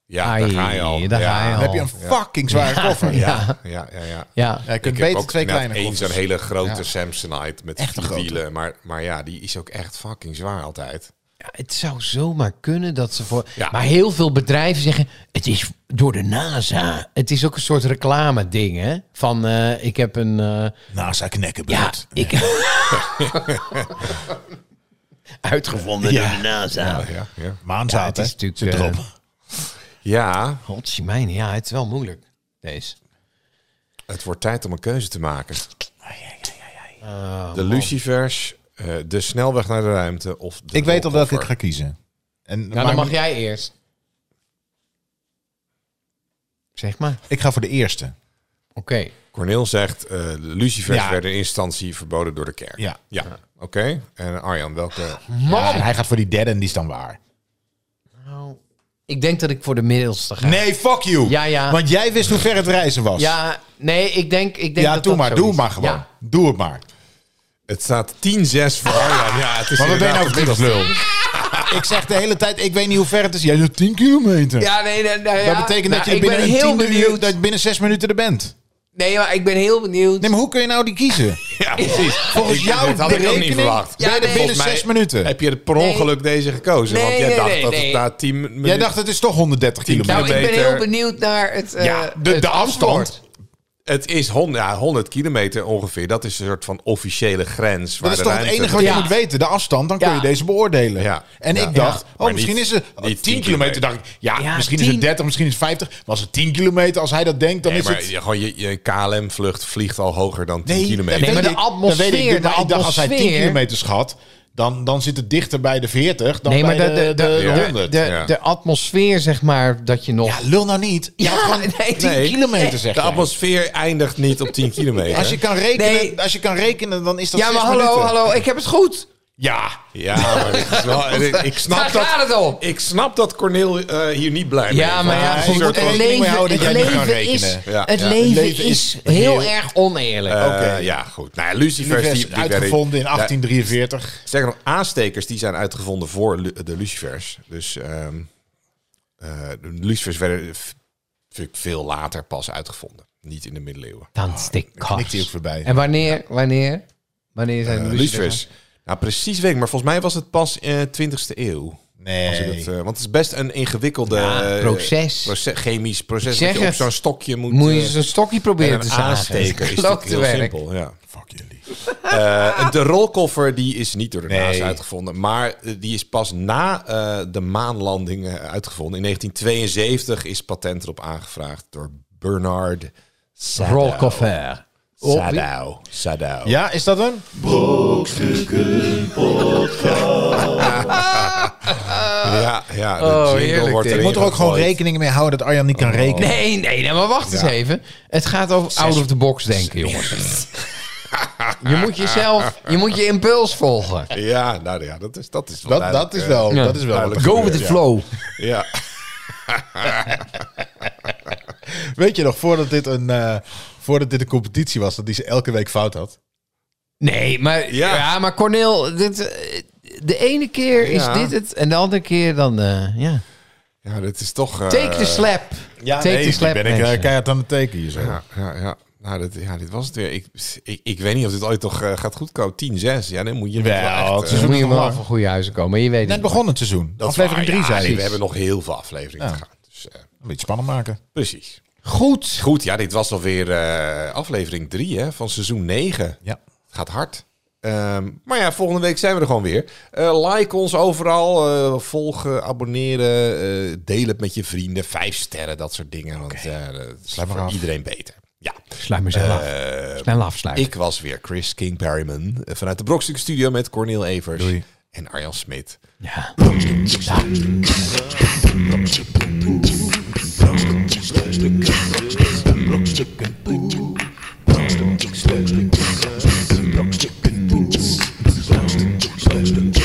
S2: Ja, daar ga je al.
S5: Ai, daar
S2: ja.
S5: ga je
S3: Dan
S5: al.
S3: heb je een fucking zware koffer. Ja.
S5: Oh, Ja,
S2: Ja, ja, ja.
S5: ja.
S3: je kunt
S2: Ik heb
S3: beter
S2: ook
S3: twee
S2: inderdaad
S3: kleine
S2: één zo'n
S3: koffers.
S2: hele grote Samsonite met
S3: Echt een
S2: vier
S3: grote.
S2: wielen. Maar, maar ja, die is ook echt fucking zwaar altijd.
S5: Ja, het zou zomaar kunnen dat ze voor...
S2: Ja.
S5: Maar heel veel bedrijven zeggen, het is door de NASA. Het is ook een soort reclame ding, hè? Van, eh, ik heb een... eh,
S3: NASA knekken
S5: Ja,
S3: beurt.
S5: ik. Uitgevonden
S3: Ja.
S5: door de NASA.
S2: Ja, ja.
S3: Maanzaad,
S5: Ja, het
S3: hè?
S5: is natuurlijk,
S3: Zit erop.
S5: eh,
S2: ja,
S5: Godzijmijn, ja, het is wel moeilijk. Deze.
S2: het wordt tijd om een keuze te maken. de lucifers, eh, de snelweg naar de ruimte of de
S3: ik weet al welke ik
S2: rolkoffer.
S3: ga kiezen. En,
S5: Nou,
S3: maar
S5: dan mag jij eerst. Zeg maar.
S3: Ik ga voor de eerste.
S5: Oké.
S2: Corneel zegt, eh, de lucifers
S3: Ja.
S2: werden in instantie verboden door de kerk.
S3: Ja.
S2: Ja, oké. En Arjan, welke...
S3: Ja, en hij gaat voor die derde en die is dan waar.
S5: Nou, ik denk dat ik voor de middelste ga.
S3: Nee, fuck you.
S5: Ja, ja.
S3: Want jij wist hoe ver het reizen was.
S5: Ja, nee, ik denk. Ik denk
S3: Ja,
S5: dat
S3: doe
S5: dat
S3: maar.
S5: zoiets
S3: Doe maar
S5: is.
S3: gewoon.
S5: Ja.
S3: Doe het maar.
S2: Het staat 10-6 voor Arjan. Ja, het is
S3: Maar wat ben je nou
S2: inderdaad
S3: voor
S2: de
S3: lul? Ik zeg de hele tijd, ik weet niet hoe ver het is. Jij zegt 10 kilometer.
S5: Ja, nee, nee, nee,
S3: Dat
S5: ja.
S3: betekent
S5: Nou,
S3: dat je
S5: ik
S3: binnen
S5: ben heel
S3: 10 uur,
S5: benieuwd.
S3: dat je binnen 6 minuten er bent.
S5: Nee, maar ik ben heel benieuwd.
S3: Nee, maar hoe kun je nou die kiezen?
S2: Ja, precies.
S3: Volgens
S2: Ik-
S3: jou
S2: dit had ik ook niet
S3: berekening
S2: verwacht.
S5: ben je er
S2: Volgens
S5: binnen
S2: mij
S3: zes minuten.
S2: Heb je per ongeluk deze gekozen?
S5: Nee,
S2: want jij
S5: nee,
S2: dacht
S5: nee,
S2: dat het
S5: nee.
S2: na 10 minuten...
S3: Jij dacht het is toch 110
S2: kilometer.
S3: kilometer.
S5: nou, ik ben
S2: kilometer.
S5: heel benieuwd naar het. eh,
S3: Ja, de,
S5: het
S3: de
S5: antwoord.
S3: afstand.
S2: Het is 100, ja, 100 kilometer ongeveer. Dat is een soort van officiële grens. Waar
S3: Dat is
S2: de
S3: toch het
S2: ruimte-
S3: enige wat je
S5: Ja.
S3: moet weten, de afstand. Dan kun
S5: Ja.
S3: je deze beoordelen.
S2: Ja.
S3: En
S2: Ja.
S3: ik dacht,
S2: Ja.
S3: oh,
S2: Maar
S3: misschien
S2: niet-
S3: is het oh,
S2: niet
S3: 10,
S2: 10
S3: kilometer.
S2: kilometer.
S3: dacht ik, ja,
S5: Ja,
S3: misschien is
S5: 10.
S3: het 30, misschien is het 50. Was het 10 kilometer? Als hij dat denkt, dan
S2: Nee,
S3: is
S2: maar
S3: het...
S2: je- gewoon je, je KLM-vlucht vliegt al hoger dan 10
S3: Nee, dat
S2: kilometer.
S5: Nee, maar de
S3: weet ik. Dat
S5: atmosfeer,
S3: weet ik,
S5: de
S3: maar ik dacht, als hij 10
S5: atmosfeer-
S3: kilometers gaat, dan, dan zit het dichter bij de 40 dan
S5: Nee, maar
S3: bij
S5: de,
S3: de,
S5: de, de,
S2: ja.
S5: de-
S3: 100.
S5: de-
S2: ja.
S5: de atmosfeer, zeg maar, dat je nog...
S3: Ja, lul nou niet. Je
S5: Ja,
S3: had gewoon
S5: nee,
S3: 10
S2: nee.
S3: kilometer, zeg
S2: de
S3: jij.
S2: atmosfeer eindigt niet op 10 kilometer.
S3: Als je, kan rekenen,
S5: Nee.
S3: als je kan rekenen, dan is dat
S5: Ja, maar
S3: zes
S5: hallo,
S3: minuten.
S5: hallo, ik heb het goed.
S3: Ja,
S2: Ja, maar dit is wel- ik, ik snap
S5: Daar
S2: dat,
S5: gaat het om.
S2: ik snap dat Corneel eh, hier niet blij mee
S5: Ja,
S2: is.
S5: maar ja,
S3: nee,
S5: goed,
S3: je moet er
S5: het
S3: rekening mee
S5: leven,
S3: houden
S5: het
S3: dat jij niet kan
S5: leven is,
S3: rekenen.
S2: Ja,
S5: het
S2: ja.
S5: leven
S3: Leven
S5: is
S3: is
S5: heel
S3: heel-
S5: erg oneerlijk.
S2: Eh,
S3: oké.
S2: Ja, goed. Nou ja, Lucifers... die-
S3: Univers
S2: die
S3: uitgevonden in
S2: werden- Ja,
S3: 1843.
S2: Sterker nog, aanstekers die zijn uitgevonden voor lu- de lucifers. Dus ehm, eh, de lucifers werden v- v- veel later pas uitgevonden. Niet in de middeleeuwen.
S5: Dan stikt
S3: Nikt die ook voorbij.
S5: En wanneer, wanneer, wanneer zijn
S2: Eh,
S5: de lucifers?
S2: lucifers. Nou, precies weet ik, maar volgens mij was het pas eh 20e eeuw. Als ik
S3: Nee.
S2: het, eh, want het is best een ingewikkelde
S5: Ja,
S2: eh,
S5: proces.
S2: proces- chemisch proces.
S5: zeg
S2: dat je op
S5: het.
S2: zo'n stokje moet.
S5: Moet je
S2: eh,
S5: eens een stokje proberen
S2: en
S5: te
S2: een
S5: zagen.
S2: aansteker is
S5: Klopt
S2: natuurlijk
S5: te
S2: heel
S5: werk.
S2: simpel. Ja.
S3: Fuck jullie.
S2: Eh, en de rolkoffer die is niet door de
S3: Nee.
S2: NASA uitgevonden, maar eh, die is pas na eh, de maanlanding eh, uitgevonden. In 1972 is patent erop aangevraagd door
S3: Oh,
S2: Bernard Sadow.
S5: Rolkoffer. Oh,
S2: Sadow. Sadow.
S3: Ja, is dat hem?
S2: ja, ja, de
S5: Oh,
S2: jingle
S5: heerlijk
S2: wordt
S5: dit.
S2: erin
S3: Je Oh. moet er ook gewoon
S2: gegooid.
S3: rekening mee houden dat Arjan niet kan rekenen.
S5: Nee, nee, nee, maar wacht eens even. Het gaat over out of the box denken, jongens. je moet jezelf, je moet je impuls volgen.
S2: Ja, nou ja, dat is, dat is wel
S3: Dat,
S2: duidelijk,
S3: dat is
S2: eh,
S3: wel,
S5: Ja.
S3: dat is wel wat er
S5: Go
S3: gebeurt,
S5: with the
S3: ja.
S5: flow.
S2: Ja.
S3: Weet je nog, voordat dit een, eh, voordat dit een competitie was, dat die ze elke week fout had.
S5: Nee, maar,
S2: Ja.
S5: ja. maar Cornel, dit, eh, de ene keer is
S2: Ja.
S5: dit het en de andere keer dan... eh, ja.
S2: ja, dat is toch... eh,
S5: Take the slap. Take the slap,
S3: ben ik eh,
S5: mensen.
S3: keihard aan het tekenen hier zo.
S2: Ja, ja, ja. Nou, dat, ja, dit was het weer. Ik, ik, ik weet niet of dit ooit toch eh, gaat goedkomen. 10-6. Ja, dan moet je
S3: Wel,
S2: wel echt,
S3: het
S2: eh,
S3: is
S5: Dan moet je
S3: nog
S5: wel
S3: maar.
S5: van goede huizen komen. Je weet
S3: Net
S5: het.
S3: begon het seizoen.
S2: Dat is
S3: Aflevering
S2: waar,
S3: 3
S2: Oh, ja,
S3: zijn.
S2: nee, we hebben nog heel veel afleveringen
S3: Ja.
S2: te gaan. Dus, eh,
S3: Een beetje spannend maken.
S2: precies.
S5: Goed.
S2: Goed, ja, dit was alweer eh, aflevering 3 van seizoen 9.
S3: Ja.
S2: Het gaat hard. Ehm, maar ja, volgende week zijn we er gewoon weer. Eh, like ons overal. eh, volgen, abonneren. eh, deel het met je vrienden. Vijf sterren, dat soort dingen. Want eh, dat is
S3: Sluit maar
S2: voor
S3: af.
S2: iedereen beter. Ja.
S5: Sluit maar zo af.
S2: Eh,
S5: Snel afsluiten.
S2: ik was weer Chris King Perryman. eh, vanuit de Brokstuk Studio met Cornel Evers.
S3: Doei.
S2: En Arjan Smit.
S5: Ja.
S6: Brokstukken, brokstukken, brokstukken, brokstukken, brokstukken, brokstukken, brokstukken,